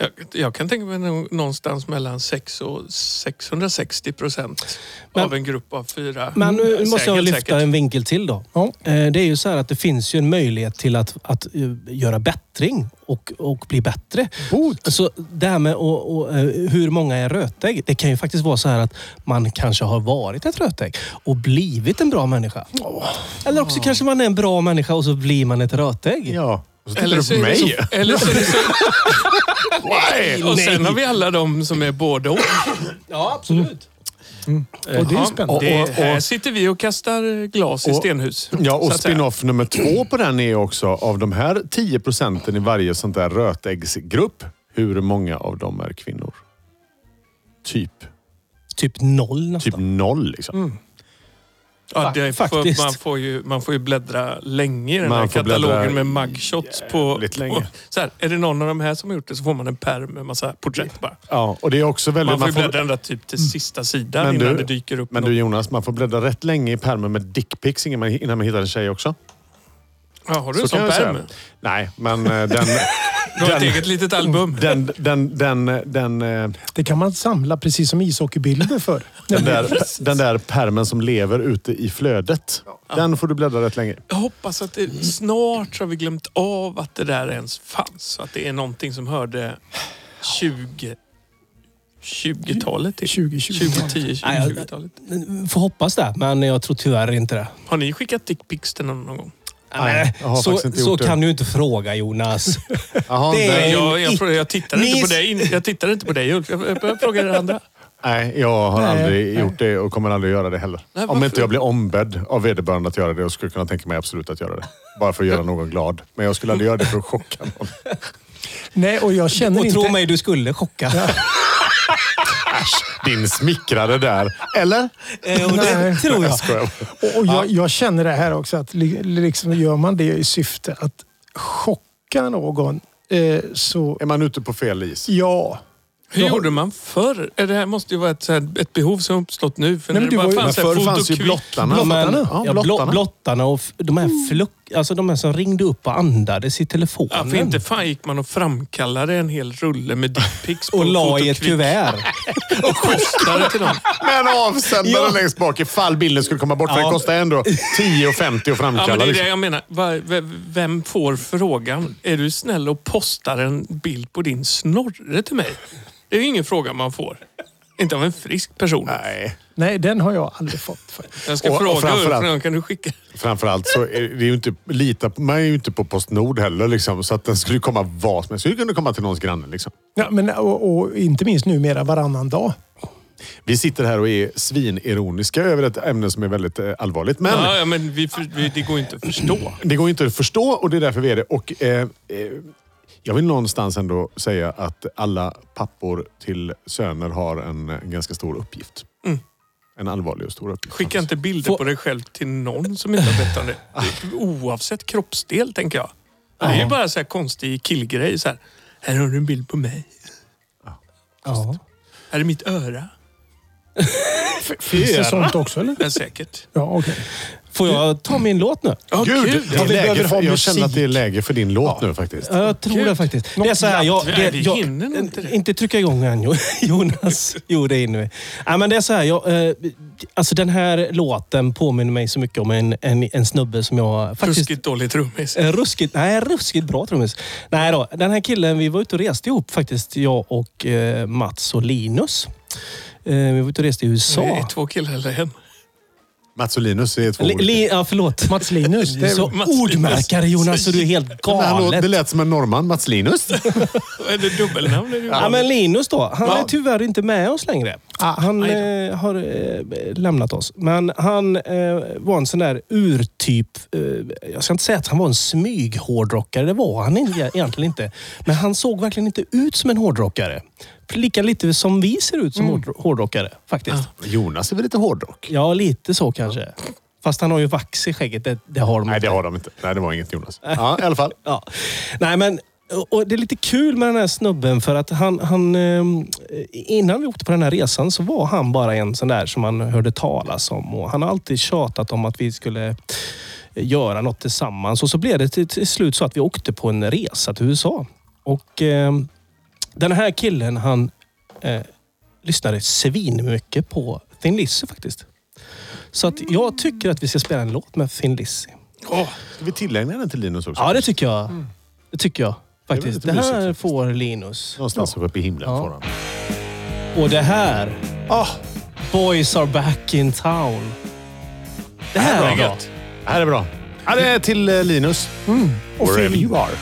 Speaker 2: Jag, jag kan tänka mig nå- någonstans mellan 6 och 660 procent
Speaker 4: Men-
Speaker 2: av en grupp av fyra.
Speaker 4: Men nu måste jag
Speaker 2: Mm. Säkert,
Speaker 4: lyfta
Speaker 2: säkert.
Speaker 4: en vinkel till då.
Speaker 3: Ja.
Speaker 4: Eh, Det är ju så här att det finns ju en möjlighet till att, att eh, göra bättring och, och bli bättre.
Speaker 3: Bot.
Speaker 4: Så det här med och, och, eh, hur många är rötägg. Det kan ju faktiskt vara så här att man kanske har varit ett rötägg och blivit en bra människa. Eller också kanske man är en bra människa och så blir man ett rötägg.
Speaker 1: Ja. Och så tittar
Speaker 2: Eller så,
Speaker 1: du
Speaker 2: är
Speaker 1: på
Speaker 2: det
Speaker 1: mig.
Speaker 2: så, eller så är det så,
Speaker 1: [LAUGHS] Why?
Speaker 2: och sen har vi alla de som är både och.
Speaker 4: Ja, absolut.
Speaker 3: Och det är
Speaker 2: Eh, Ja,
Speaker 3: spännande.
Speaker 2: det-
Speaker 1: Och- och-
Speaker 2: här sitter vi och kastar glas i
Speaker 1: Och-
Speaker 2: stenhus.
Speaker 1: Ja, och
Speaker 2: så att säga.
Speaker 1: spin-off nummer två på den är också av de här 10 procenten i varje sånt där rötäggsgrupp. Hur många av dem är kvinnor? Typ,
Speaker 4: Typ noll nästan.
Speaker 1: typ noll liksom.
Speaker 2: Mm. Ja, det är,
Speaker 4: Faktiskt.
Speaker 2: för, man, får ju, man får ju bläddra länge i den
Speaker 1: Man
Speaker 2: här
Speaker 1: får
Speaker 2: katalogen
Speaker 1: bläddra
Speaker 2: med mugshots. På,
Speaker 1: jävligt
Speaker 2: på,
Speaker 1: länge.
Speaker 2: så här, är det någon av de här som har gjort det så får man en pärm med massa porträtt bara.
Speaker 1: Ja, och det är också väldigt...
Speaker 2: Man får ju
Speaker 1: man får- Mm.
Speaker 2: bläddra ända typ till sista sidan
Speaker 1: Men
Speaker 2: innan
Speaker 1: du-
Speaker 2: det dyker upp
Speaker 1: men
Speaker 2: något.
Speaker 1: du Jonas, man får bläddra rätt länge i pärmen med dickpics innan man, innan man hittar en tjej också.
Speaker 2: Ja, har du en sån
Speaker 1: kan jag
Speaker 2: pärm?
Speaker 1: säga. Nej, men eh, den...
Speaker 2: Du har ett
Speaker 1: den-
Speaker 2: eget litet album.
Speaker 1: Den, den, den, den, eh,
Speaker 3: Det kan man samla precis som
Speaker 2: [LAUGHS]
Speaker 3: ishockeybilder för.
Speaker 1: den, där, den där pärmen som lever ute i flödet. Den får du bläddra rätt länge.
Speaker 2: Jag hoppas att det, snart så har vi glömt av att det där ens fanns. Så Att det är någonting som hörde 20... 20-talet till.
Speaker 3: 2020.
Speaker 2: 2010, 2020-talet.
Speaker 4: Men Får hoppas det, men jag tror tyvärr inte det.
Speaker 2: Har ni skickat dickpics till någon någon gång?
Speaker 1: Nej, jag har
Speaker 4: så
Speaker 1: faktiskt inte
Speaker 4: så
Speaker 1: gjort det.
Speaker 4: kan du inte fråga Jonas.
Speaker 1: Jaha,
Speaker 4: Det är-
Speaker 1: den-
Speaker 2: Nej, jag,
Speaker 4: i-
Speaker 2: jag, frågar- jag, tittar inte
Speaker 4: Ni-
Speaker 2: på dig, jag tittar inte på dig Ulf. Jag, jag, jag frågar er andra.
Speaker 1: Nej, jag har
Speaker 3: Nej,
Speaker 1: aldrig
Speaker 3: nej.
Speaker 1: gjort det och kommer aldrig göra det heller.
Speaker 2: Nej,
Speaker 1: Om
Speaker 2: varför?
Speaker 1: inte jag blir ombedd av vederbörande att göra det, och skulle jag kunna tänka mig absolut att göra det. Bara för att göra någon glad. Men jag skulle aldrig göra det för att chocka någon.
Speaker 3: Nej, och jag känner
Speaker 4: Och
Speaker 3: inte...
Speaker 4: tro mig, du skulle chocka.
Speaker 1: Din smickrade där. Eller?
Speaker 4: [LAUGHS] Eh, och
Speaker 3: Nej.
Speaker 4: det tror jag.
Speaker 1: Skojar.
Speaker 3: Och, och jag, jag känner det här också, att li- liksom, gör man det i syfte att chocka någon eh, så...
Speaker 1: Är man ute på fel is?
Speaker 3: Ja.
Speaker 2: Hur
Speaker 3: Jag har-
Speaker 2: gjorde man förr? Eh, Det här måste ju vara ett, så här, ett behov som uppstått nu. För
Speaker 3: Nej,
Speaker 2: Nej,
Speaker 3: men
Speaker 2: när det bara
Speaker 3: du var ju-
Speaker 1: Men
Speaker 2: fanns så här
Speaker 1: förr fanns ju
Speaker 2: fotokvick.
Speaker 1: blottarna.
Speaker 4: Men,
Speaker 1: Blottarna.
Speaker 4: ja, blott- blottarna och f- de här alltså de här som ringde upp och andades i
Speaker 2: Ja,
Speaker 4: telefonen.
Speaker 2: för inte fan gick man och framkallade en hel rulle med dickpics på
Speaker 4: och la i ett
Speaker 1: [LAUGHS]
Speaker 2: fotokvick
Speaker 4: kuvert.
Speaker 2: och kostade [LAUGHS] till dem.
Speaker 1: Med en avsändare
Speaker 4: Ja.
Speaker 1: längst bak ifall bilden skulle komma bort. För
Speaker 4: Ja.
Speaker 1: den kostar ändå 10,50 att
Speaker 2: Ja,
Speaker 1: framkalla.
Speaker 2: men det är
Speaker 1: liksom.
Speaker 2: det jag menar. Va- v- Vem får frågan? Är du snäll och postar en bild på din snorre till mig? Det är ju ingen fråga man får. Inte av en frisk person.
Speaker 1: Nej.
Speaker 3: Nej, den har jag aldrig fått.
Speaker 2: Jag ska
Speaker 1: Och- och
Speaker 2: fråga
Speaker 1: framförallt-
Speaker 2: Ulf, kan du skicka?
Speaker 1: Framförallt så är det ju inte, litar man är ju inte på Postnord heller. Liksom, så att den skulle komma vad som helst. Skulle kunna komma till någons granne. Liksom.
Speaker 3: Ja, men, och, och inte minst numera varannan dag.
Speaker 1: Vi sitter här och är svinironiska över ett ämne som är väldigt eh, allvarligt. Men
Speaker 2: Ja, ja, men vi, för- vi, det går inte att förstå.
Speaker 1: det går ju inte att förstå och det är därför vi är det. Och, eh, eh, jag vill någonstans ändå säga att alla pappor till söner har en, eh, ganska stor uppgift. En allvarlig och stor uppgift.
Speaker 2: Skicka inte bilder på dig själv till någon som inte har bett om det. Oavsett kroppsdel, tänker jag. Det är ju bara så här konstig killgrej. Så här. här har du en bild på mig.
Speaker 4: Ja.
Speaker 2: Här är mitt öra.
Speaker 3: Finns det
Speaker 1: Era.
Speaker 3: sånt också eller?
Speaker 2: Ja, säkert.
Speaker 3: Ja, okej.
Speaker 4: Får jag ta min låt nu?
Speaker 2: Ja,
Speaker 1: Gud,
Speaker 2: kul.
Speaker 1: det är
Speaker 3: vi behöver
Speaker 1: läge för,
Speaker 3: ha
Speaker 1: jag känner att det är
Speaker 3: musik.
Speaker 1: läge för din låt nu faktiskt.
Speaker 4: Ja, jag tror det faktiskt. Det är så här, jag,
Speaker 2: glatt.
Speaker 4: det,
Speaker 2: Nej, vi
Speaker 4: jag,
Speaker 2: hinner nog inte det.
Speaker 4: inte trycka igång än Jo- [LAUGHS] Jonas. Jo, det hinner vi. Ja, men det är så här, jag, eh, alltså den här låten påminner mig så mycket om en, en, en snubbe som jag faktiskt...
Speaker 2: Ruskigt dålig trummis.
Speaker 4: Eh, Ruskigt, nej, ruskigt bra trummis. Nej då, den här killen, vi var ute och reste ihop faktiskt, jag och eh, Mats och Linus. Eh, vi var ute och reste i
Speaker 2: Det är
Speaker 4: USA.
Speaker 2: två killar eller en.
Speaker 1: Mats och Linus är två
Speaker 4: Li,
Speaker 1: olika.
Speaker 4: li, ja, förlåt.
Speaker 3: Mats Linus. Det
Speaker 4: Så,
Speaker 3: är,
Speaker 2: Mats Linus.
Speaker 4: ordmärkare Jonas, så du är helt
Speaker 1: Men hallå,
Speaker 4: galet.
Speaker 1: det lät som en norrman, Mats Linus. [LAUGHS]
Speaker 2: Är det dubbelnamn? Är det
Speaker 4: Ja, men Linus då. Han
Speaker 1: Ja.
Speaker 4: är tyvärr inte med oss längre. han eh, har eh, lämnat oss. Men han eh, var en sån där urtyp. Eh, jag ska inte säga att han var en smyghårdrockare. Det var han inte- egentligen inte. Men han såg verkligen inte ut som en hårdrockare. Lika lite som vi ser ut som hårdro- hårdrockare faktiskt.
Speaker 1: Jonas är väl lite hårdrock?
Speaker 4: Ja, lite så kanske. Fast han har ju vax i skägget. Det, det har de
Speaker 1: Nej,
Speaker 4: inte.
Speaker 1: det har de inte. Nej, det var inget Jonas. Ja, i alla fall.
Speaker 4: Ja. Nej, men och- och det är lite kul med den här snubben för att han, han... ehm, Innan vi åkte på den här resan så var han bara en sån där som man hörde talas om. Och han har alltid tjatat om att vi skulle göra något tillsammans. Och så blev det till, till slut så att vi åkte på en resa till USA. Och ehm, den här killen, han eh, lyssnade svinmycket på Thin Lizzy faktiskt. Så att jag tycker att vi ska spela en låt med Thin Lizzy.
Speaker 1: Oh, ska vi tillägna den till Linus också?
Speaker 4: Ja, det tycker jag. Det tycker jag faktiskt.
Speaker 1: lite
Speaker 4: Det, här
Speaker 1: mysigt faktiskt.
Speaker 4: får Linus.
Speaker 1: Någonstans uppe i himlen får han.
Speaker 4: Och det här. ah, Boys are back in town. Det här var bra.
Speaker 1: Det här är bra. Ja, det är till eh, Linus.
Speaker 3: och
Speaker 1: Wherever
Speaker 3: Phil,
Speaker 1: you are.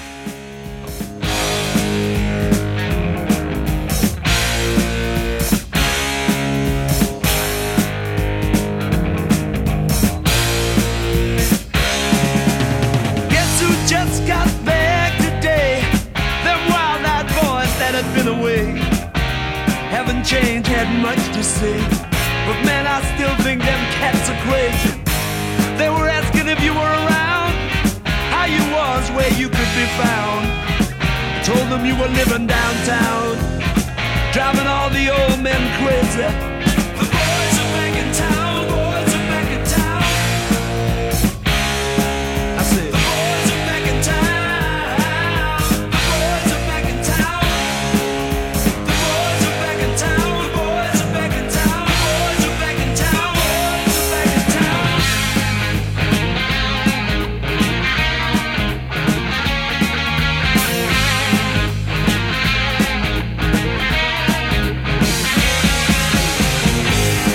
Speaker 7: Guess who just got back today? Them wild-eyed boys that had been away haven't changed, had much to say. But man, I still think them cats are crazy. They were asking if you were around, how you was, where you could be found. I told them you were living downtown, driving all the old men crazy. The boys are back in town, boys are back in town. I said, The boys are back in town. The boys are back in town. The boys are back in town. The boys are back in town. The boys are back in town. The boys are back in town.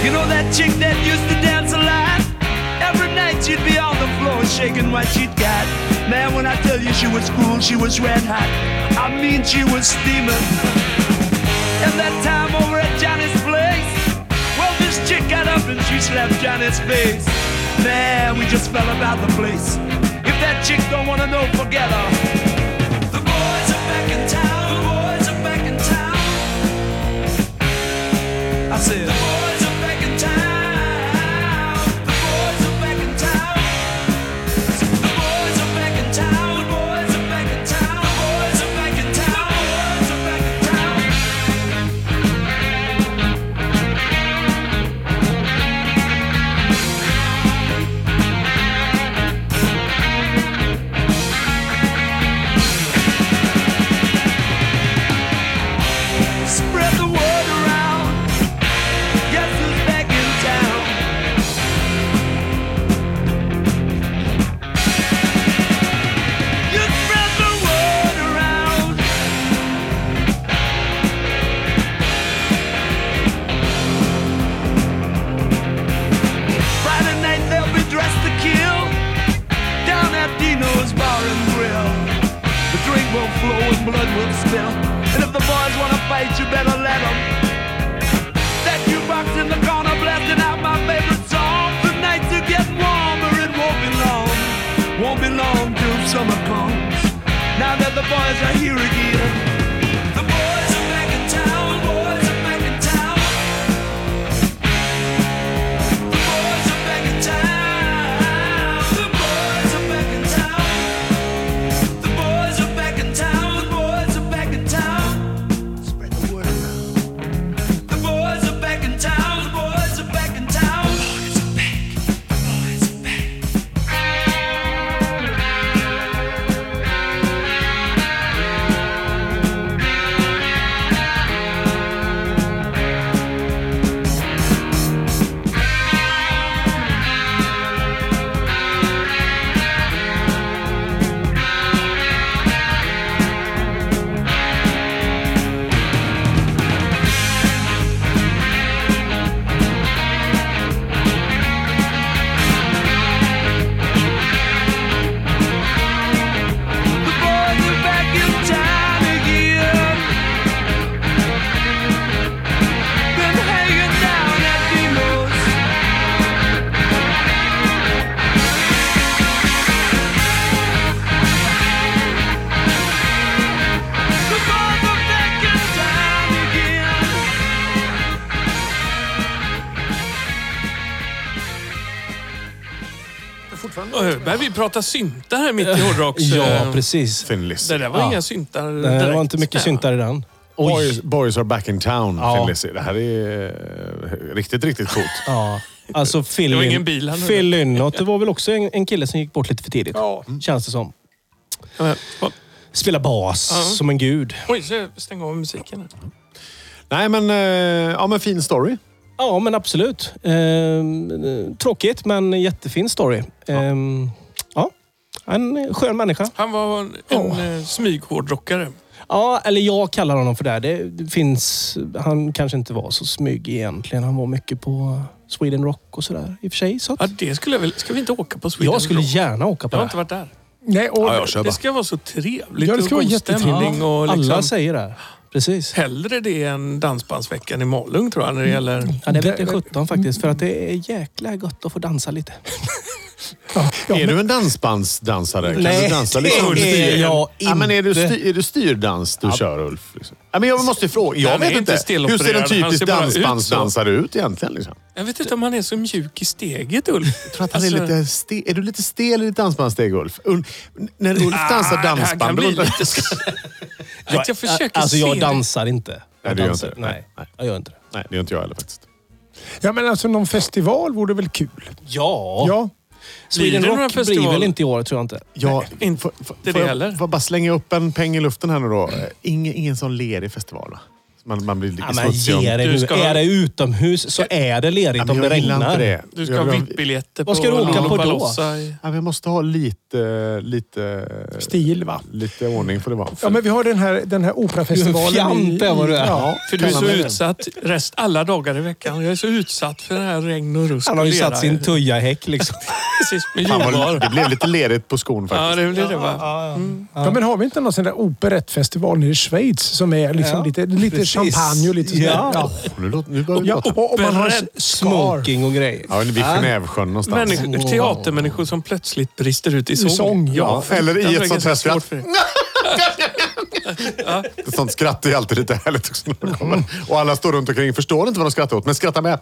Speaker 7: You know that chick that used to dance a lot? Every night she'd be on the floor shaking what she'd got. Man, when I tell you she was cool, she was red hot. I mean, she was steaming. And that time over at Johnny's place, well, this chick got up and she slapped Johnny's face. Man, we just fell about the place. If that chick don't wanna know, forget her. The boys are back in town. The boys are back in town. I said, The boys are back in town. The boys are back in town. The boys are back in town. The boys are back in town. The boys are back in town. The boys are back in town.
Speaker 6: Boys
Speaker 7: boys are here again. The boys are back in town, boys are back in town. The boys are back in town. The boys are back in town. The boys are back in town, the boys are back in town. Spread the word around. The boys are back in town. The boys are back in town. The boys are back. The boys are back. The boys are back in town again. Been hanging down at Dino's. The boys are back in town again.
Speaker 2: Börjar vi prata syntar här mitt i hårdrocks...
Speaker 4: Ja,
Speaker 2: eh,
Speaker 4: precis.
Speaker 1: Finlis.
Speaker 2: Det där var
Speaker 4: Ja.
Speaker 2: inga syntar
Speaker 4: Nej,
Speaker 2: direkt.
Speaker 4: det var inte mycket syntar i den.
Speaker 1: Boys, boys are back in town,
Speaker 4: Ja.
Speaker 1: Thin Lizzy. Det här är eh, riktigt, riktigt coolt.
Speaker 4: Ja. Alltså Phil
Speaker 2: Det var
Speaker 4: Lynn-
Speaker 2: ingen bil han hade.
Speaker 4: Phil Lynott, det var väl också en, en kille som gick bort lite för tidigt. Känns det som.
Speaker 2: Eh, va-
Speaker 4: Spelar bas
Speaker 2: Ja.
Speaker 4: som en gud.
Speaker 2: Oj, så jag stänger av musiken. här.
Speaker 1: Nej, men, eh, ja, men fin story.
Speaker 4: Ja, men absolut. Ehm, eh, tråkigt, men jättefin story. Ehm, ja. En skön människa.
Speaker 2: Han var en, en eh, smyghårdrockare.
Speaker 4: Ja, eller jag kallar honom för det. Det det finns... Han kanske inte var så smyg egentligen. Han var mycket på Sweden Rock och sådär i och för sig. Så
Speaker 2: Ja,
Speaker 4: att
Speaker 2: det skulle jag väl... Ska vi inte åka på Sweden
Speaker 4: jag skulle
Speaker 2: Rock?
Speaker 4: gärna åka på
Speaker 2: Jag har
Speaker 4: det.
Speaker 2: inte varit där.
Speaker 3: Nej, och,
Speaker 1: Ja, jag kör
Speaker 2: Det
Speaker 1: bara.
Speaker 2: ska vara så trevligt
Speaker 3: Ja, det ska
Speaker 2: och
Speaker 3: vara
Speaker 2: god
Speaker 3: jättetrevligt.
Speaker 2: stämning. Och liksom,
Speaker 4: Alla säger det. Precis.
Speaker 2: Hellre det än Dansbandsveckan i Malung tror jag när det gäller...
Speaker 4: Ja, det är
Speaker 3: Det-
Speaker 4: lite 17 faktiskt, för att det är jäkla gött att få dansa lite.
Speaker 3: Ja,
Speaker 1: är du en dansbandsdansare? Kan du dansa liksom Ulf
Speaker 4: är
Speaker 1: Dyren?
Speaker 4: jag
Speaker 1: Ja,
Speaker 4: inte.
Speaker 1: men är, du sty- är det styrdans du kör, Ulf? Liksom? Ja, men jag måste fråga. Jag
Speaker 2: Han är
Speaker 1: vet
Speaker 2: inte
Speaker 1: inte. Hur ser en
Speaker 2: stelopererad. Han ser
Speaker 1: typisk
Speaker 2: bara ut så.
Speaker 1: dansbandsdansare ut, egentligen? Liksom?
Speaker 2: Jag vet inte om han är så mjuk i steget, Ulf. Alltså, Jag
Speaker 1: tror att han är, lite ste- är du lite stel i ditt dansbandssteg, Ulf? Ul- n- när Ulf dansar
Speaker 2: Han kan
Speaker 1: dansband...
Speaker 2: bli
Speaker 1: då-
Speaker 2: lite... jag, jag försöker
Speaker 4: alltså,
Speaker 2: se
Speaker 4: jag
Speaker 2: det.
Speaker 4: dansar inte.
Speaker 1: Nej,
Speaker 4: Jag
Speaker 1: du gör
Speaker 4: dansar-
Speaker 1: inte det.
Speaker 4: Nej,
Speaker 1: Nej.
Speaker 4: jag gör inte det.
Speaker 1: Nej, det gör inte jag heller faktiskt.
Speaker 3: ja, men alltså någon festival vore väl kul?
Speaker 4: Ja.
Speaker 3: Ja.
Speaker 4: Sweden
Speaker 2: Blir det några
Speaker 4: Rock blir
Speaker 2: festival?
Speaker 4: väl inte i år, tror jag inte.
Speaker 1: Jag,
Speaker 2: inte
Speaker 1: får, får,
Speaker 2: det
Speaker 1: får jag,
Speaker 2: heller.
Speaker 1: Får jag bara slänga upp en peng i luften här nu då? Eh, Ingen, ingen sån lerig festival, va? Man, man blir lite
Speaker 4: Ja, men
Speaker 1: smutsig. om-
Speaker 4: ge dig
Speaker 2: Du
Speaker 4: nu.
Speaker 2: ska-
Speaker 4: Är det utomhus så är det lerigt
Speaker 1: Ja,
Speaker 4: om
Speaker 1: men
Speaker 4: det
Speaker 1: jag gillar
Speaker 4: regnar.
Speaker 1: inte det.
Speaker 2: Du ska
Speaker 1: Jag-
Speaker 2: ha
Speaker 1: jag-
Speaker 2: VIP-biljetter
Speaker 4: Vad ska du åka på då?
Speaker 2: Lollapalooza i-
Speaker 1: Ja, men jag måste ha lite... lite
Speaker 3: Stil, va?
Speaker 1: Lite ordning får det vara.
Speaker 3: Ja, men vi har den här, den här operafestivalen.
Speaker 4: Du är en fjant,
Speaker 3: i-
Speaker 4: är vad du är.
Speaker 3: Ja.
Speaker 2: För du är så
Speaker 1: Kallar mig
Speaker 2: utsatt rest alla dagar i veckan. Jag är så utsatt för det här regn och rusk.
Speaker 4: Han har ju
Speaker 2: och lera.
Speaker 4: satt sin
Speaker 2: [LAUGHS]
Speaker 4: tuja i häck liksom.
Speaker 2: Precis, med
Speaker 1: Fan, vad-
Speaker 2: jordbar.
Speaker 1: det blev lite lerigt på skon
Speaker 2: Ja,
Speaker 1: faktiskt.
Speaker 2: det blir det va?
Speaker 4: Ja,
Speaker 3: Ja, men har vi inte någon sån där operettfestival nere i Schweiz som är liksom
Speaker 4: Ja,
Speaker 3: lite, lite
Speaker 4: precis.
Speaker 3: champagne och lite sådär?
Speaker 4: Ja.
Speaker 1: Åh, nu låter, nu börjar vi
Speaker 3: Ja,
Speaker 1: låta.
Speaker 3: och, och man har
Speaker 2: Operett-
Speaker 3: skar.
Speaker 4: Smoking och grejer.
Speaker 1: Ja, vid Genèvesjön någonstans.
Speaker 2: Människor, teatermänniskor som plötsligt brister ut i sång.
Speaker 3: sång, ja.
Speaker 2: för-
Speaker 1: Eller i
Speaker 2: jag
Speaker 1: ett
Speaker 2: har
Speaker 1: sånt
Speaker 2: ganska
Speaker 1: här skratt.
Speaker 2: svårt för det.
Speaker 1: Ett sånt skratt är alltid lite härligt också. när de
Speaker 2: Mm.
Speaker 1: kommer. Och alla står runt omkring förstår inte vad de skrattar åt, men skrattar med.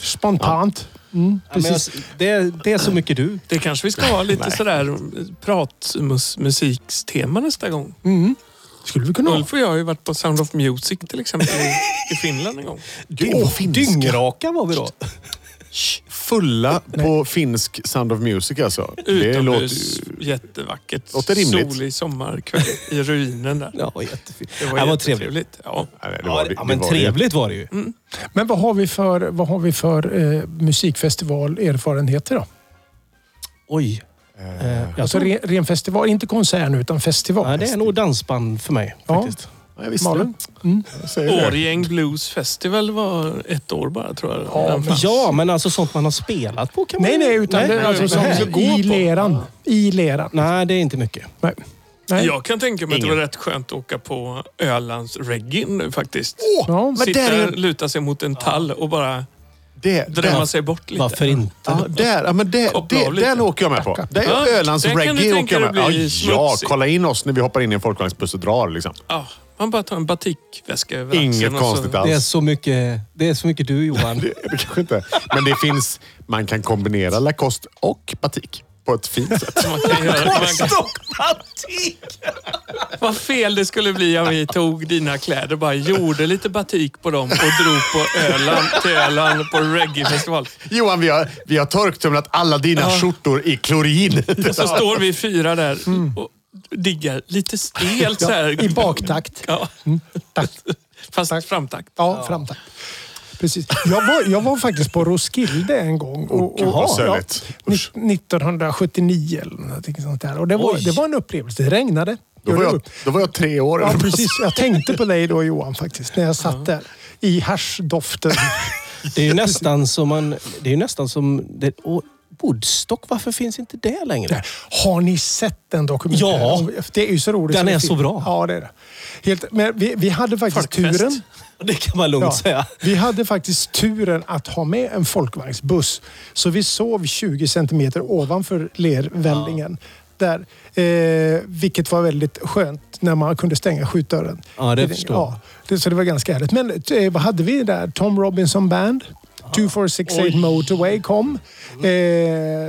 Speaker 3: Spontant.
Speaker 4: Ja, men jag, det, det är så mycket du.
Speaker 2: Det kanske vi ska
Speaker 1: [LAUGHS]
Speaker 2: ha lite sådär pratmusikstema nästa gång.
Speaker 3: Skulle vi kunna ha.
Speaker 2: Ulf och jag har ju varit på Sound of Music till exempel i, i Finland en gång.
Speaker 1: Gud, vad finska.
Speaker 4: Dyngraka var vi då.
Speaker 1: Fulla på finsk Sound of Music alltså. [LAUGHS] Det låter,
Speaker 2: Utomhus, jättevackert.
Speaker 1: låter rimligt.
Speaker 2: Solig sommarkväll i
Speaker 1: [LAUGHS]
Speaker 2: ruinen där.
Speaker 4: Ja, jättefint.
Speaker 2: Det var,
Speaker 4: ja, vad trevligt.
Speaker 2: jättetrevligt. Ja.
Speaker 1: Nej, det
Speaker 4: Ja,
Speaker 1: var, det,
Speaker 4: ja,
Speaker 1: det
Speaker 4: men
Speaker 1: var
Speaker 4: trevligt var det ju.
Speaker 2: Mm.
Speaker 3: Men vad har vi för, vad har vi för eh, musikfestivalerfarenheter då?
Speaker 4: Oj. Eh, jag
Speaker 3: Alltså
Speaker 4: tror,
Speaker 3: ren, ren festival, inte konsert nu, utan festival.
Speaker 4: ja, det är nog dansband för mig
Speaker 3: Ja.
Speaker 4: faktiskt.
Speaker 1: Det. Ja, jag visste
Speaker 3: Malin?
Speaker 1: det.
Speaker 2: Mm.
Speaker 1: Jag säger det.
Speaker 2: Årgäng Blues Festival var ett år bara tror jag. Den
Speaker 4: Ja,
Speaker 2: fanns.
Speaker 4: men alltså sånt man har spelat på kan man
Speaker 3: Nej, nej, utan det är alltså
Speaker 2: nej,
Speaker 3: som
Speaker 2: nej.
Speaker 3: som i leran. I leran.
Speaker 4: Nej, det är inte mycket.
Speaker 3: Nej. Nej.
Speaker 2: Jag kan tänka mig att det var rätt skönt att åka på Ölands reggae nu faktiskt.
Speaker 3: Ja, men
Speaker 2: Sitta,
Speaker 3: där är ju-
Speaker 2: luta sig mot en tall och bara
Speaker 1: Det,
Speaker 2: Drömma
Speaker 1: där-
Speaker 2: sig bort lite.
Speaker 4: Varför inte?
Speaker 1: Ja, där, ja, men det,
Speaker 2: Koppla
Speaker 1: det,
Speaker 2: av lite.
Speaker 1: den åker jag med på. Det
Speaker 2: Ja,
Speaker 1: är Ölands
Speaker 2: där kan du
Speaker 1: reggae åker
Speaker 2: tänka
Speaker 1: jag med
Speaker 2: dig
Speaker 1: på.
Speaker 2: bli
Speaker 1: Ja,
Speaker 2: smutsig.
Speaker 1: kolla in oss när vi hoppar in i en folkvagnsbuss och drar. Liksom.
Speaker 2: Ja, man bara tar en batikväska över
Speaker 1: Inget
Speaker 2: axeln och så-
Speaker 1: konstigt
Speaker 4: Det är
Speaker 1: alls.
Speaker 4: så mycket, det är så mycket du Johan.
Speaker 1: Det, det kanske inte. Men det finns, man kan kombinera Lacoste och batik på ett fint
Speaker 3: [LAUGHS]
Speaker 1: sätt.
Speaker 2: Man kan göra, man kan, [LAUGHS] vad fel det skulle bli om vi tog dina kläder bara gjorde lite batik på dem och drog på Öland, till Öland på reggaefestival.
Speaker 1: Johan, vi har, vi har torktumlat alla dina skjortor i klorin. [LAUGHS]
Speaker 2: Och så står vi fyra där och diggar lite stelt så här.
Speaker 3: I baktakt.
Speaker 2: Ja.
Speaker 1: Mm.
Speaker 2: Fast framtakt.
Speaker 3: Ja, framtakt. Precis. Jag var, jag var faktiskt på Roskilde en gång.
Speaker 1: Åh, gud, vad sörligt.
Speaker 3: ja,
Speaker 1: Usch.
Speaker 3: ni- 1979 eller någonting sånt där. Och det, var,
Speaker 4: Oj.
Speaker 3: det var en upplevelse. Det regnade.
Speaker 1: Då var
Speaker 3: Gjorde
Speaker 1: jag,
Speaker 3: upp.
Speaker 1: då var jag tre år. [LAUGHS]
Speaker 3: Ja, precis. Jag tänkte på dig då Johan faktiskt, när jag satt där. I haschdoften.
Speaker 4: Det är ju nästan som man... Det är ju nästan som... Det, och Woodstock, varför finns inte det längre?
Speaker 3: Har ni sett den dokumentären?
Speaker 4: Ja.
Speaker 3: Det är ju så roligt.
Speaker 4: Den
Speaker 3: som
Speaker 4: är
Speaker 3: en
Speaker 4: så
Speaker 3: film.
Speaker 4: bra.
Speaker 3: Ja, det är det. Helt, men vi, vi hade faktiskt
Speaker 2: Folkfest.
Speaker 3: turen.
Speaker 4: [LAUGHS] Det kan man lugnt
Speaker 3: Ja,
Speaker 4: säga.
Speaker 3: Vi hade faktiskt turen att ha med en folkvagnsbuss. Så vi sov 20 centimeter ovanför lervällingen. Där, eh, vilket var väldigt skönt när man kunde stänga skjutdörren.
Speaker 4: Ja, det förstår jag.
Speaker 3: det, så det var ganska härligt. Men eh, vad hade vi där? Tom Robinson Band. 2468 Motorway kom. Eh,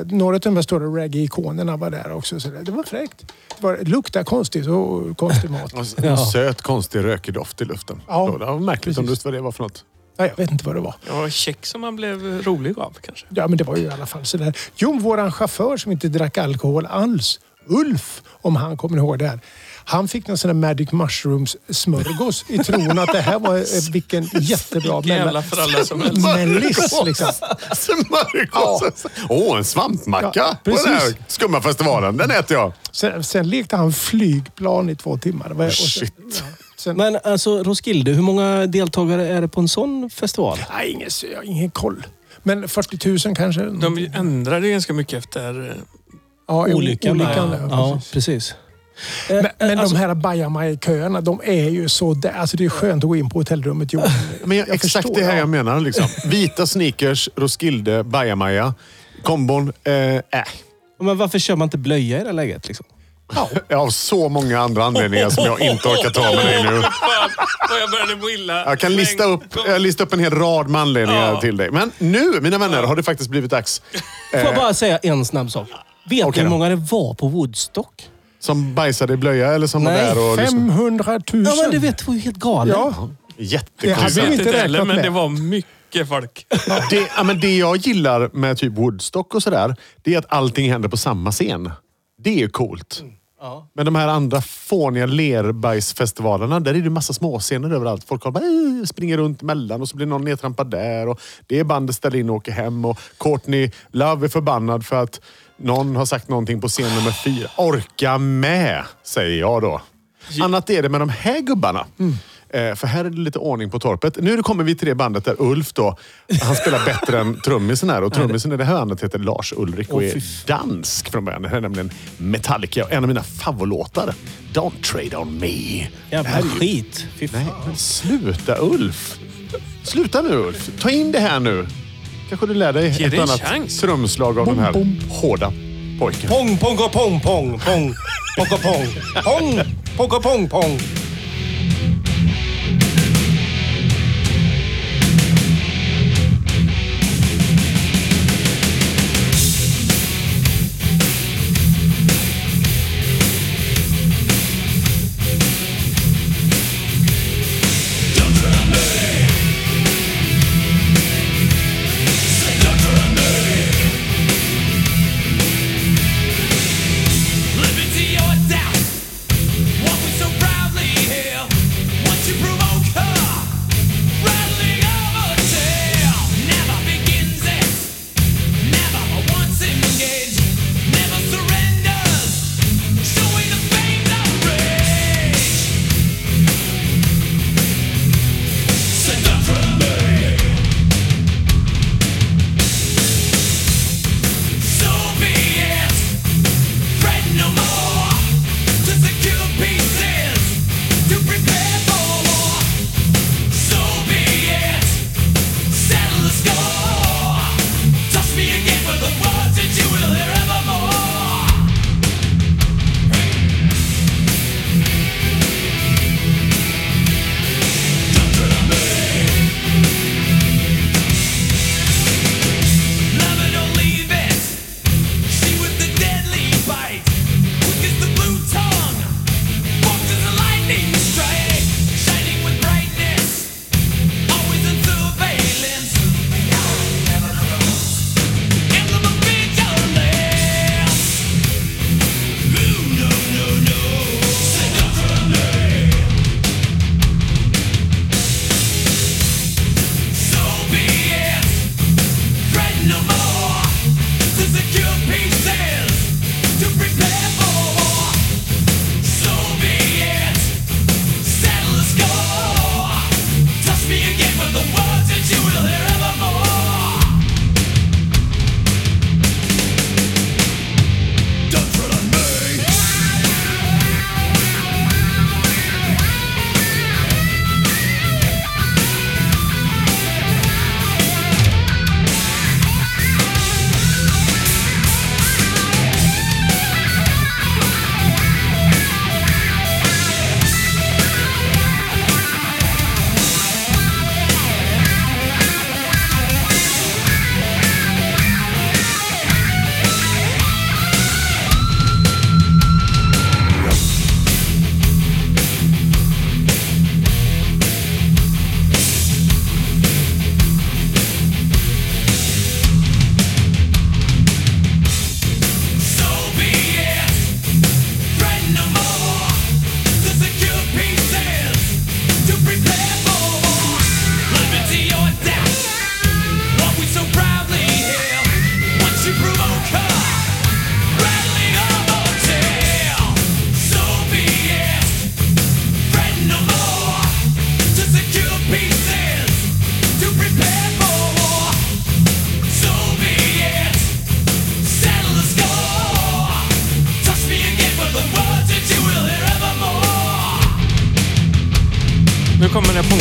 Speaker 3: några av de här stora reggae-ikonerna var där också. Så det, det var fräckt. Det var, lukta konstigt och konstig mat.
Speaker 1: En söt, konstig, rökig doft i luften.
Speaker 3: Ja,
Speaker 1: Då, det var märkligt om du
Speaker 3: precis.
Speaker 1: visste vad det var för
Speaker 3: [LAUGHS]
Speaker 1: något.
Speaker 3: Ja, jag vet inte vad det var.
Speaker 2: Det var check som man blev rolig av kanske.
Speaker 3: Ja, men det var ju i alla fall sådär. Jo, våran chaufför som inte drack alkohol alls, Ulf, om han kommer ihåg det här. Han fick någon sån där Magic Mushrooms smörgås i tron att det här var
Speaker 2: [LAUGHS]
Speaker 3: eh, vilken jättebra
Speaker 2: Vilken jävla
Speaker 3: mella-
Speaker 2: fralla som helst. [LAUGHS]
Speaker 3: mellis. Liksom.
Speaker 1: Smörgås! Åh, en svampmacka
Speaker 3: Ja,
Speaker 1: på den här
Speaker 3: precis.
Speaker 1: skumma festivalen. Den äter jag.
Speaker 3: Sen, sen lekte han flygplan i två timmar. Det
Speaker 2: Oh,
Speaker 3: var- och sen-
Speaker 1: Shit.
Speaker 3: ja, Sen,
Speaker 4: Men alltså Roskilde, hur många deltagare är det på en sån festival?
Speaker 3: nej, ingen, jag har ingen koll. Men 40 000 kanske?
Speaker 2: De ändrade ju ganska mycket efter... eh,
Speaker 3: ja, o-
Speaker 4: Olyckan.
Speaker 3: olyckan
Speaker 4: ja.
Speaker 3: ja,
Speaker 4: ja,
Speaker 3: precis.
Speaker 4: precis.
Speaker 3: Men, men
Speaker 4: Alltså-
Speaker 3: de här bajamajaköerna, de är ju så där. Alltså det är skönt att gå in på hotellrummet. Jo,
Speaker 1: Men jag, exakt
Speaker 3: förstår,
Speaker 1: det här
Speaker 3: ja.
Speaker 1: jag menar. Liksom. Vita sneakers, Roskilde, bajamaja. Kombon, eh, äh.
Speaker 4: Men varför kör man inte blöja i det läget? Liksom?
Speaker 1: Av så många andra anledningar som jag inte orkar ta med dig nu.
Speaker 2: Fan, vad jag började må illa.
Speaker 1: Jag kan lista upp, jag listar upp en hel rad med anledningar
Speaker 2: Ja.
Speaker 1: till dig. Men nu, mina vänner, har det faktiskt blivit dags.
Speaker 4: Får jag bara säga en snabb sak? Vet ni
Speaker 1: Okej
Speaker 4: hur
Speaker 1: då.
Speaker 4: många det var på Woodstock?
Speaker 1: Som bajsade i blöja eller som
Speaker 4: Nej,
Speaker 1: var där och... Liksom,
Speaker 3: 500 000.
Speaker 4: Ja, men du vet, det var ju helt galet.
Speaker 3: Ja,
Speaker 1: jättekonstigt.
Speaker 3: Det
Speaker 2: Jag
Speaker 3: är
Speaker 2: vet
Speaker 3: inte
Speaker 2: inte heller,
Speaker 3: räknat
Speaker 2: men
Speaker 3: med.
Speaker 2: det var mycket folk.
Speaker 1: Det, ja, men det jag gillar med typ Woodstock och sådär, det är att allting händer på samma scen. Det är ju coolt. Men de här andra fåniga lerbajsfestivalerna, där är det massa småscener överallt. Folk har bara, "Ih", springer runt mellan och så blir någon nedtrampad där. Och det är bandet ställer in och åker hem. Och Courtney Love är förbannad för att någon har sagt någonting på scen nummer fyra. Orka med, säger jag då. Annat är det med de här gubbarna. Eh, för här är det lite ordning på torpet. Nu kommer vi till det bandet där Ulf då, han spelar bättre än trummisen här. Och trummisen i det här bandet heter Lars Ulrik och
Speaker 4: Åh,
Speaker 1: är
Speaker 4: fy
Speaker 1: dansk från början. Det här är nämligen Metallica och en av mina favoritlåtar. Don't trade on me.
Speaker 4: Jävla
Speaker 1: Det här är ju-
Speaker 4: skit. Fy fan.
Speaker 1: Nej, men sluta Ulf. Sluta nu Ulf. Ta in det här nu. Kanske du lär dig
Speaker 2: Ge
Speaker 1: ett
Speaker 2: det en
Speaker 1: annat
Speaker 2: chans.
Speaker 1: trumslag av den här
Speaker 3: bom.
Speaker 1: hårda pojken.
Speaker 4: Pong, pong, och pong, pong, pong, pong, och pong, pong, pong, och pong, pong.
Speaker 6: Liberty or death, walking so proudly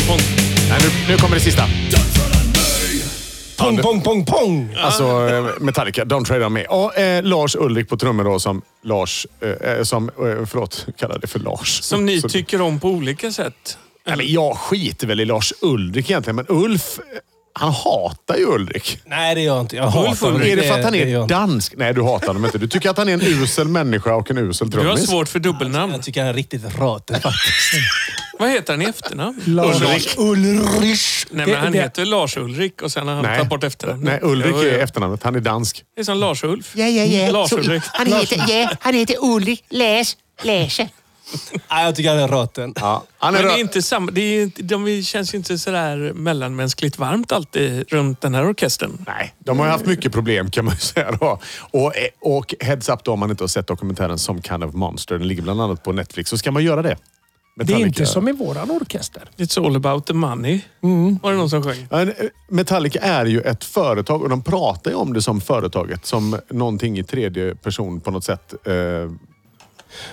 Speaker 1: pong. Nej, nu, nu kommer det sista.
Speaker 4: Pong, pong, pong, pong!
Speaker 1: Alltså eh, Metallica, Don't Trade On Me. Ja, eh, Lars Ulrik på trummor då som Lars, eh, eh, som, eh, förlåt, kallade det för Lars.
Speaker 2: Som ni
Speaker 1: Så-
Speaker 2: tycker om på olika sätt.
Speaker 1: Nej, men jag skiter väl i Lars Ulrik egentligen, men Ulf, eh, han hatar ju Ulrik.
Speaker 4: Nej, det gör jag inte. Jag
Speaker 2: Ulf
Speaker 4: hatar
Speaker 2: Ulrich.
Speaker 4: honom.
Speaker 1: Är det för att han
Speaker 4: Det- det gör jag
Speaker 1: är
Speaker 4: inte.
Speaker 1: dansk? Nej, du hatar honom inte. Du tycker att han är en usel människa och en usel
Speaker 2: Du har
Speaker 1: trummis.
Speaker 2: svårt för dubbelnamn.
Speaker 4: Jag tycker han är riktigt [LAUGHS] rötig faktiskt.
Speaker 2: Vad heter han i efternamn?
Speaker 1: Ulrik.
Speaker 4: Ulrich!
Speaker 2: Nej, men
Speaker 3: Det-
Speaker 2: han
Speaker 3: det-
Speaker 2: heter Lars Ulrik och sen har han
Speaker 1: Nej.
Speaker 2: tagit bort efternamnet.
Speaker 1: Nej, Ulrik
Speaker 2: Jo, jo.
Speaker 1: är efternamnet. Han är dansk.
Speaker 2: Det är som Lars-Ulf.
Speaker 8: Ja, ja, ja.
Speaker 2: Lars
Speaker 8: Så-
Speaker 9: [LAUGHS]
Speaker 2: Ulrik.
Speaker 8: Han heter, ja, han heter Ulrik. Läs. Läse.
Speaker 4: Nej, jag tycker han är röten.
Speaker 1: Ja. Han är
Speaker 2: Men det är
Speaker 1: rö-
Speaker 2: inte samma, det är, inte- de känns ju inte sådär mellanmänskligt varmt alltid runt den här orkestern.
Speaker 1: Nej, de har ju haft mycket problem kan man ju [LAUGHS] säga. Då. Och, eh, och heads up då om man inte har sett dokumentären Some Kind of Monster. Den ligger bland annat på Netflix. Så ska man göra det.
Speaker 3: Det är inte
Speaker 1: Metallica-
Speaker 3: som i våran orkester.
Speaker 2: It's all about the money. Var det någon som sjöng?
Speaker 1: Ja, en- eh, Metallica är ju ett företag och de pratar ju om det som företaget. Som någonting i tredje person på något sätt. Eh,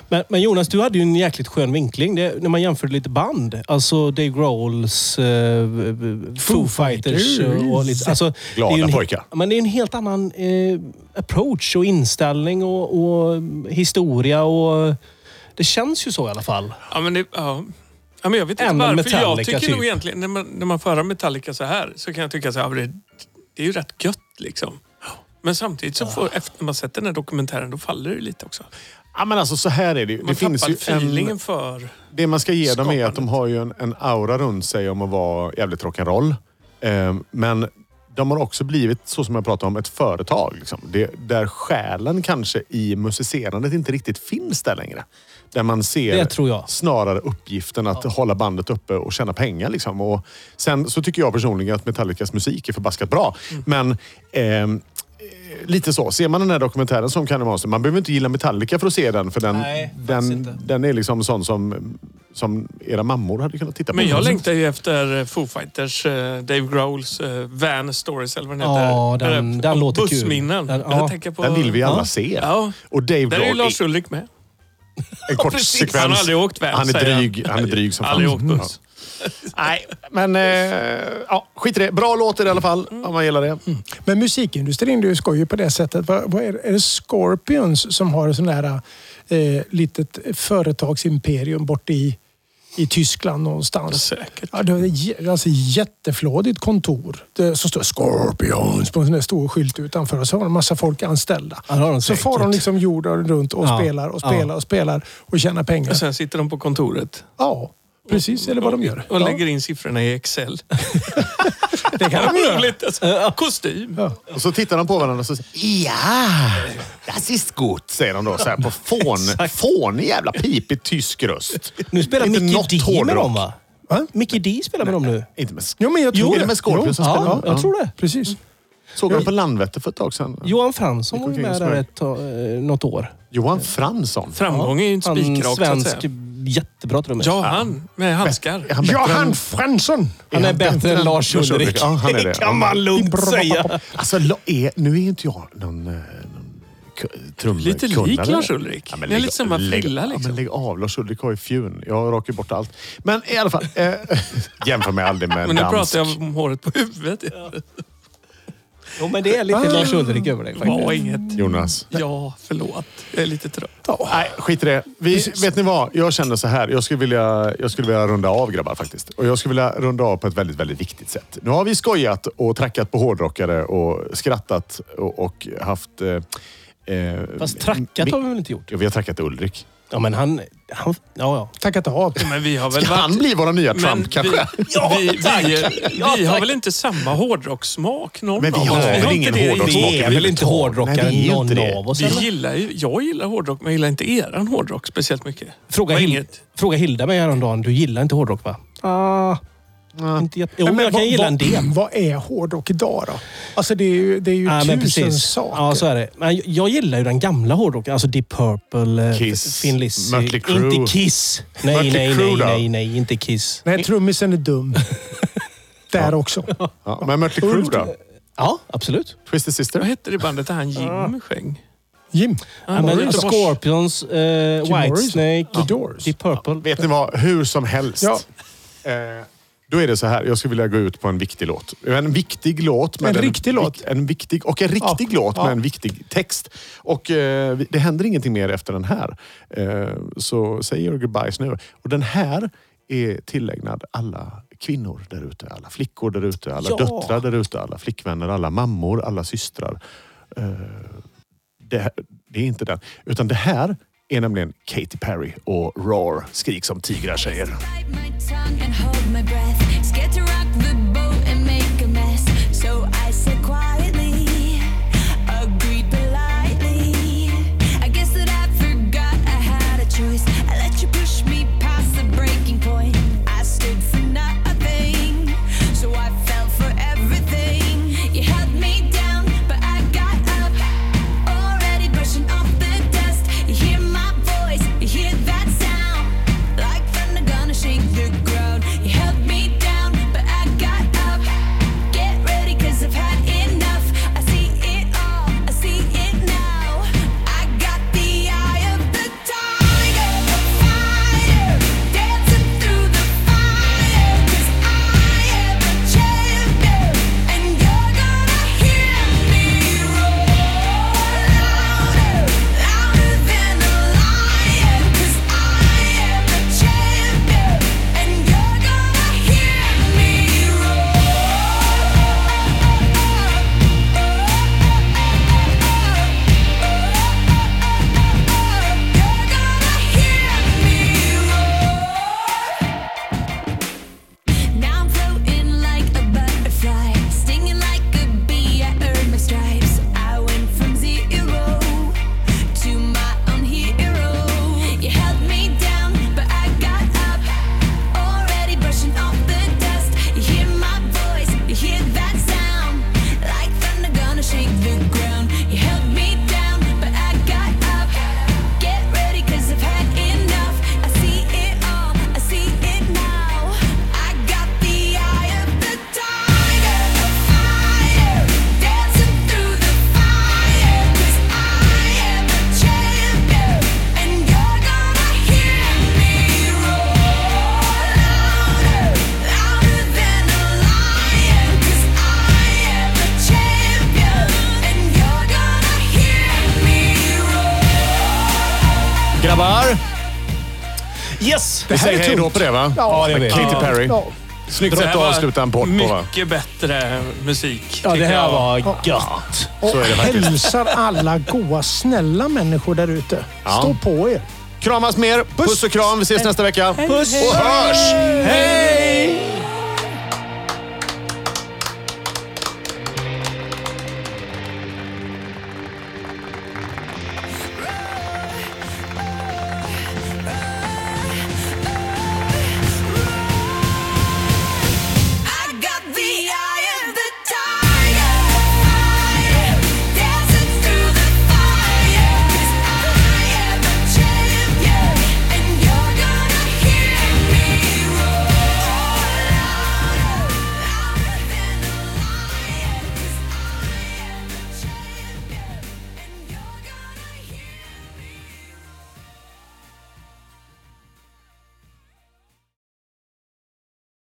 Speaker 4: Men, men Jonas, du hade ju en jäkligt skön vinkling det, när man jämförde lite band. Alltså Dave Grohls, eh, Foo Fighters och, och lite... Alltså,
Speaker 1: Glada
Speaker 4: det är ju en,
Speaker 1: pojkar.
Speaker 4: Men det är en helt annan eh, approach och inställning och, och historia och... Det känns ju så i alla fall.
Speaker 2: Ja, men det, ja. Ja, men jag vet inte
Speaker 4: Än
Speaker 2: varför. jag
Speaker 4: Metallica,
Speaker 2: tycker nog
Speaker 4: typ.
Speaker 2: egentligen, när man, när man får höra Metallica så här, så kan jag tycka så här, ja, men det, det är ju rätt gött liksom. Men samtidigt så får, efter man sett den här dokumentären, då faller det lite också.
Speaker 1: ja, men alltså så här är det ju.
Speaker 2: Man
Speaker 1: Det finns
Speaker 2: tappar
Speaker 1: ju
Speaker 2: feelingen
Speaker 1: en,
Speaker 2: för...
Speaker 1: Det man ska ge dem är att de
Speaker 2: skapandet.
Speaker 1: har ju en, en aura runt sig om att vara jävligt rock'n'roll. Eh, men de har också blivit, så som jag pratade om, ett företag. Liksom. Det, där själen kanske i musicerandet inte riktigt finns där längre. Där man ser
Speaker 4: Det tror jag.
Speaker 1: snarare uppgiften att hålla bandet uppe och tjäna pengar. Liksom. Och sen så tycker jag personligen att Metallicas musik är förbaskat bra.
Speaker 4: Mm.
Speaker 1: Men ehm, eh, lite så. Ser man den här dokumentären som Kanye Monster, man behöver inte gilla Metallica för att se den. För den,
Speaker 4: Nej, faktiskt
Speaker 1: den,
Speaker 4: inte.
Speaker 1: den är liksom sån som, som era mammor hade kunnat titta på.
Speaker 2: Men jag längtar ju efter eh, Foo Fighters, eh, Dave Grohls eh, Van Stories eller vad den
Speaker 4: Ja,
Speaker 2: heter.
Speaker 4: den-
Speaker 2: där-
Speaker 4: den
Speaker 2: om
Speaker 4: låter kul.
Speaker 2: Bussminnen.
Speaker 4: Den- ja.
Speaker 2: jag tänker på,
Speaker 1: Den vill vi alla
Speaker 4: Ja.
Speaker 1: se.
Speaker 2: Ja.
Speaker 1: Och Dave
Speaker 2: Där är ju
Speaker 1: Grohl
Speaker 2: Lars
Speaker 1: i
Speaker 2: Ulrik med.
Speaker 1: en kort
Speaker 4: precis.
Speaker 1: sekvens.
Speaker 2: Han har aldrig åkt van,
Speaker 1: Han är
Speaker 2: säger han.
Speaker 1: dryg, han är dryg som fan.
Speaker 2: Aldrig åkt
Speaker 1: Mm.
Speaker 2: buss.
Speaker 1: Nej, men eh, ja, skit i det. Bra låt i alla fall, om man gillar det.
Speaker 3: Men musikindustrin det är ju skoj på det sättet. Vad, vad är, är det Scorpions som har ett sån där eh, litet företagsimperium borta i, i Tyskland
Speaker 2: Ja,
Speaker 3: någonstans?
Speaker 2: säkert.
Speaker 3: Ja, det var ett jä- alltså, jätteflådigt kontor. Det, så står Scorpions på en sån där stor skylt utanför och så har de massa folk anställda.
Speaker 4: Ja, det har de
Speaker 3: så far de
Speaker 4: säkert.
Speaker 3: liksom jorden runt och
Speaker 4: Ja,
Speaker 3: spelar och
Speaker 4: ja. Alltså-
Speaker 3: spelar och spelar och tjänar pengar.
Speaker 2: Och sen sitter de på kontoret
Speaker 3: Ja, precis. Eller vad de gör.
Speaker 2: och
Speaker 3: Ja.
Speaker 2: lägger in siffrorna i Excel.
Speaker 3: Det kan de göra.
Speaker 2: Roligt alltså. Kostym.
Speaker 1: Och så tittar de på varandra och så säger ja, das ist gut, säger de då. Så här på fån, fånig jävla pipig tysk röst.
Speaker 4: Nu spelar
Speaker 1: Inte något
Speaker 4: Mickey D med
Speaker 1: hårdrock.
Speaker 4: dem, va?
Speaker 3: Va?
Speaker 4: Mickey D spelar med dem nu.
Speaker 1: Inte med
Speaker 3: Jo, men jag
Speaker 1: Jo,
Speaker 3: tror
Speaker 1: är det
Speaker 3: det.
Speaker 1: med Scorpions som
Speaker 4: ja,
Speaker 1: spelar?
Speaker 4: jag tror det.
Speaker 3: Precis.
Speaker 1: Såg jag på Landvetter för ett tag sedan.
Speaker 4: Johan Fransson var ju
Speaker 1: omkring och
Speaker 4: med där
Speaker 1: smög.
Speaker 4: ett, tag- eh, något år.
Speaker 1: Johan Fransson.
Speaker 2: Framgång är ju inte
Speaker 4: Han
Speaker 2: spikrak så att
Speaker 4: svensk,
Speaker 1: typ-
Speaker 2: säga.
Speaker 4: jättebra trummis.
Speaker 2: Ja, han med handskar.
Speaker 1: Är han bättre än-
Speaker 3: Johan Fransson!
Speaker 4: Han är bättre än Lars Ulrik.
Speaker 1: Ja, han är det.
Speaker 4: kan man lugnt säga.
Speaker 1: Alltså, la- är, nu är inte jag någon, eh, någon k- trumkunnare.
Speaker 2: Lite lik Lars Ulrik.
Speaker 1: Ja,
Speaker 2: Det
Speaker 1: men
Speaker 2: är
Speaker 1: lägg-
Speaker 2: lite samma
Speaker 1: lägg-
Speaker 2: frilla
Speaker 1: Ja, men
Speaker 2: liksom.
Speaker 1: lägg av. Lars Ulrik har ju fjun. Jag rakar ju bort allt. Men i alla fall.
Speaker 2: [LAUGHS]
Speaker 1: Eh, [LAUGHS] jämför mig aldrig med en
Speaker 2: Men nu
Speaker 1: dansk.
Speaker 2: pratar jag om håret på huvudet.
Speaker 4: Jo, men det är lite Lars Ulrik över dig faktiskt.
Speaker 2: Var inget.
Speaker 1: Jonas.
Speaker 2: Ja, förlåt. Jag är lite trött.
Speaker 1: Nej, skit i det. Vi, vet ni vad? Jag känner så här. Jag skulle, vilja, jag skulle vilja runda av grabbar faktiskt. Och jag skulle vilja runda av på ett väldigt, väldigt viktigt sätt. Nu har vi skojat och trackat på hårdrockare och skrattat och, och haft... Eh, eh,
Speaker 4: Fast trackat
Speaker 1: mi-
Speaker 4: har vi väl inte gjort?
Speaker 1: Ja, vi har trackat Ulrik.
Speaker 4: Ja, men han... han ja, ja.
Speaker 3: Tackat av.
Speaker 2: Men vi har väl
Speaker 1: Kan han
Speaker 2: varit...
Speaker 1: bli vår nya Trump
Speaker 2: Men [LAUGHS]
Speaker 1: kanske?
Speaker 2: Vi, vi, vi, vi har väl inte samma hårdrockssmak någon
Speaker 1: Men vi
Speaker 2: av
Speaker 1: har
Speaker 2: oss.
Speaker 1: väl
Speaker 2: inte
Speaker 1: ingen
Speaker 2: det i-
Speaker 1: hårdrockssmak.
Speaker 4: Vi är väl inte hårdrockare
Speaker 1: Nej, vi är
Speaker 4: någon
Speaker 1: inte det.
Speaker 4: av oss?
Speaker 2: Vi
Speaker 4: eller?
Speaker 2: gillar ju, jag gillar hårdrock, men jag gillar inte eran hårdrock speciellt mycket.
Speaker 4: Fråga,
Speaker 2: Vad
Speaker 4: Hil-
Speaker 2: inget.
Speaker 4: fråga Hilda mig häromdagen. Du gillar inte hårdrock, va? Ah, inte jätte... Jo, men, jag kan
Speaker 3: vad-
Speaker 4: gilla en del.
Speaker 3: Vad, vad är hårdrock idag då? Alltså det är ju, det är ju
Speaker 4: Ja,
Speaker 3: tusen
Speaker 4: men precis.
Speaker 3: saker.
Speaker 4: Ja, så är det. Men jag- jag gillar ju den gamla hårdrocken. Alltså Deep Purple, eh,
Speaker 1: Kiss,
Speaker 4: Thin Lizzy.
Speaker 1: Mötley Crüe.
Speaker 4: Inte Kiss. Nej,
Speaker 1: Mötley
Speaker 4: nej,
Speaker 1: Crüe
Speaker 4: nej,
Speaker 1: då?
Speaker 4: nej, nej, inte Kiss.
Speaker 3: Nej, trummisen är dum. Där också.
Speaker 1: Ja, men Mötley Crüe då?
Speaker 4: Ja, absolut.
Speaker 1: Twisted
Speaker 2: Vad
Speaker 1: Sister?
Speaker 2: hette det bandet där han Jim sjöng?
Speaker 3: Jim.
Speaker 4: Ja, men alltså
Speaker 3: Morrison.
Speaker 4: Scorpions, eh,
Speaker 3: Morrison.
Speaker 4: Whitesnake,
Speaker 3: The Doors.
Speaker 4: Deep Purple.
Speaker 1: Vet ni vad? Hur som helst.
Speaker 3: Ja.
Speaker 1: Eh, Då är det så här, jag skulle vilja gå ut på en viktig låt. En viktig låt. Med
Speaker 3: En riktig låt.
Speaker 1: vik- En viktig, och en riktig
Speaker 3: Ja,
Speaker 1: låt med
Speaker 3: ja.
Speaker 1: en viktig text. Och eh, vi- det händer ingenting mer efter den här. Eh, så säg your goodbyes nu. Och den här är tillägnad alla kvinnor där ute. Alla flickor där ute, alla
Speaker 4: Ja.
Speaker 1: döttrar där ute, alla flickvänner, alla mammor, alla systrar. Eh, det, här- det är inte den. Utan det här är nämligen Katy Perry och Roar, Skrik som tigrar säger.
Speaker 9: Bite my tongue and hold my breath. Scared to rock the boat and make a mess. So I said quietly, agreed politely. I guess that I forgot I had a choice. I let you push me past the breaking point. I stood for nothing, so I fell for everything. You held me down, but I got up. Already brushing off the dust. You hear my voice, you hear that sound. Like thunder gonna shake the ground. You held me down, but I got up. Get ready, cause I've had enough. I see it all, I see it now. I got the eye of the tiger, the fighter, dancing through the fire. 'Cause I am the champion, and you're gonna hear me roar louder, louder than a lion. 'Cause I am the champion, and you're gonna hear me roar. You're gonna hear me roar. Now I'm floating like a butterfly, stinging like a bee. I earned my stripes. I went from zero to my own hero. You held me down, but I got up. Already brushing off the dust. You hear my voice, you hear that sound. Like thunder gonna shake the ground. You held me down, but I got up. Get ready, cause I've had enough. I see it all, I see it now. I got the eye of the tiger, the fire, dancing through the fire. 'Cause I am the champion, and you're gonna hear me roar louder, louder than a lion. 'Cause I am the champion, and you're gonna hear me roar.
Speaker 1: Grabbar!
Speaker 4: Yes!
Speaker 1: Vi säger hej då på det va?
Speaker 3: Ja, det
Speaker 1: Med
Speaker 3: gör vi.
Speaker 1: Katy Perry.
Speaker 3: Ja.
Speaker 1: Snyggt
Speaker 2: Det
Speaker 1: sätt
Speaker 2: här
Speaker 1: att
Speaker 2: var
Speaker 1: avsluta en podd på va?
Speaker 2: Mycket bättre musik.
Speaker 4: Ja, det
Speaker 2: tycker
Speaker 4: här
Speaker 2: jag.
Speaker 4: var gött.
Speaker 3: Och
Speaker 1: Så är det faktiskt.
Speaker 3: hälsar alla goa, snälla människor där ute.
Speaker 1: Ja.
Speaker 3: Stå på er.
Speaker 1: Kramas mer. Puss och kram. Vi ses nästa vecka. Puss och hörs!
Speaker 4: Hej!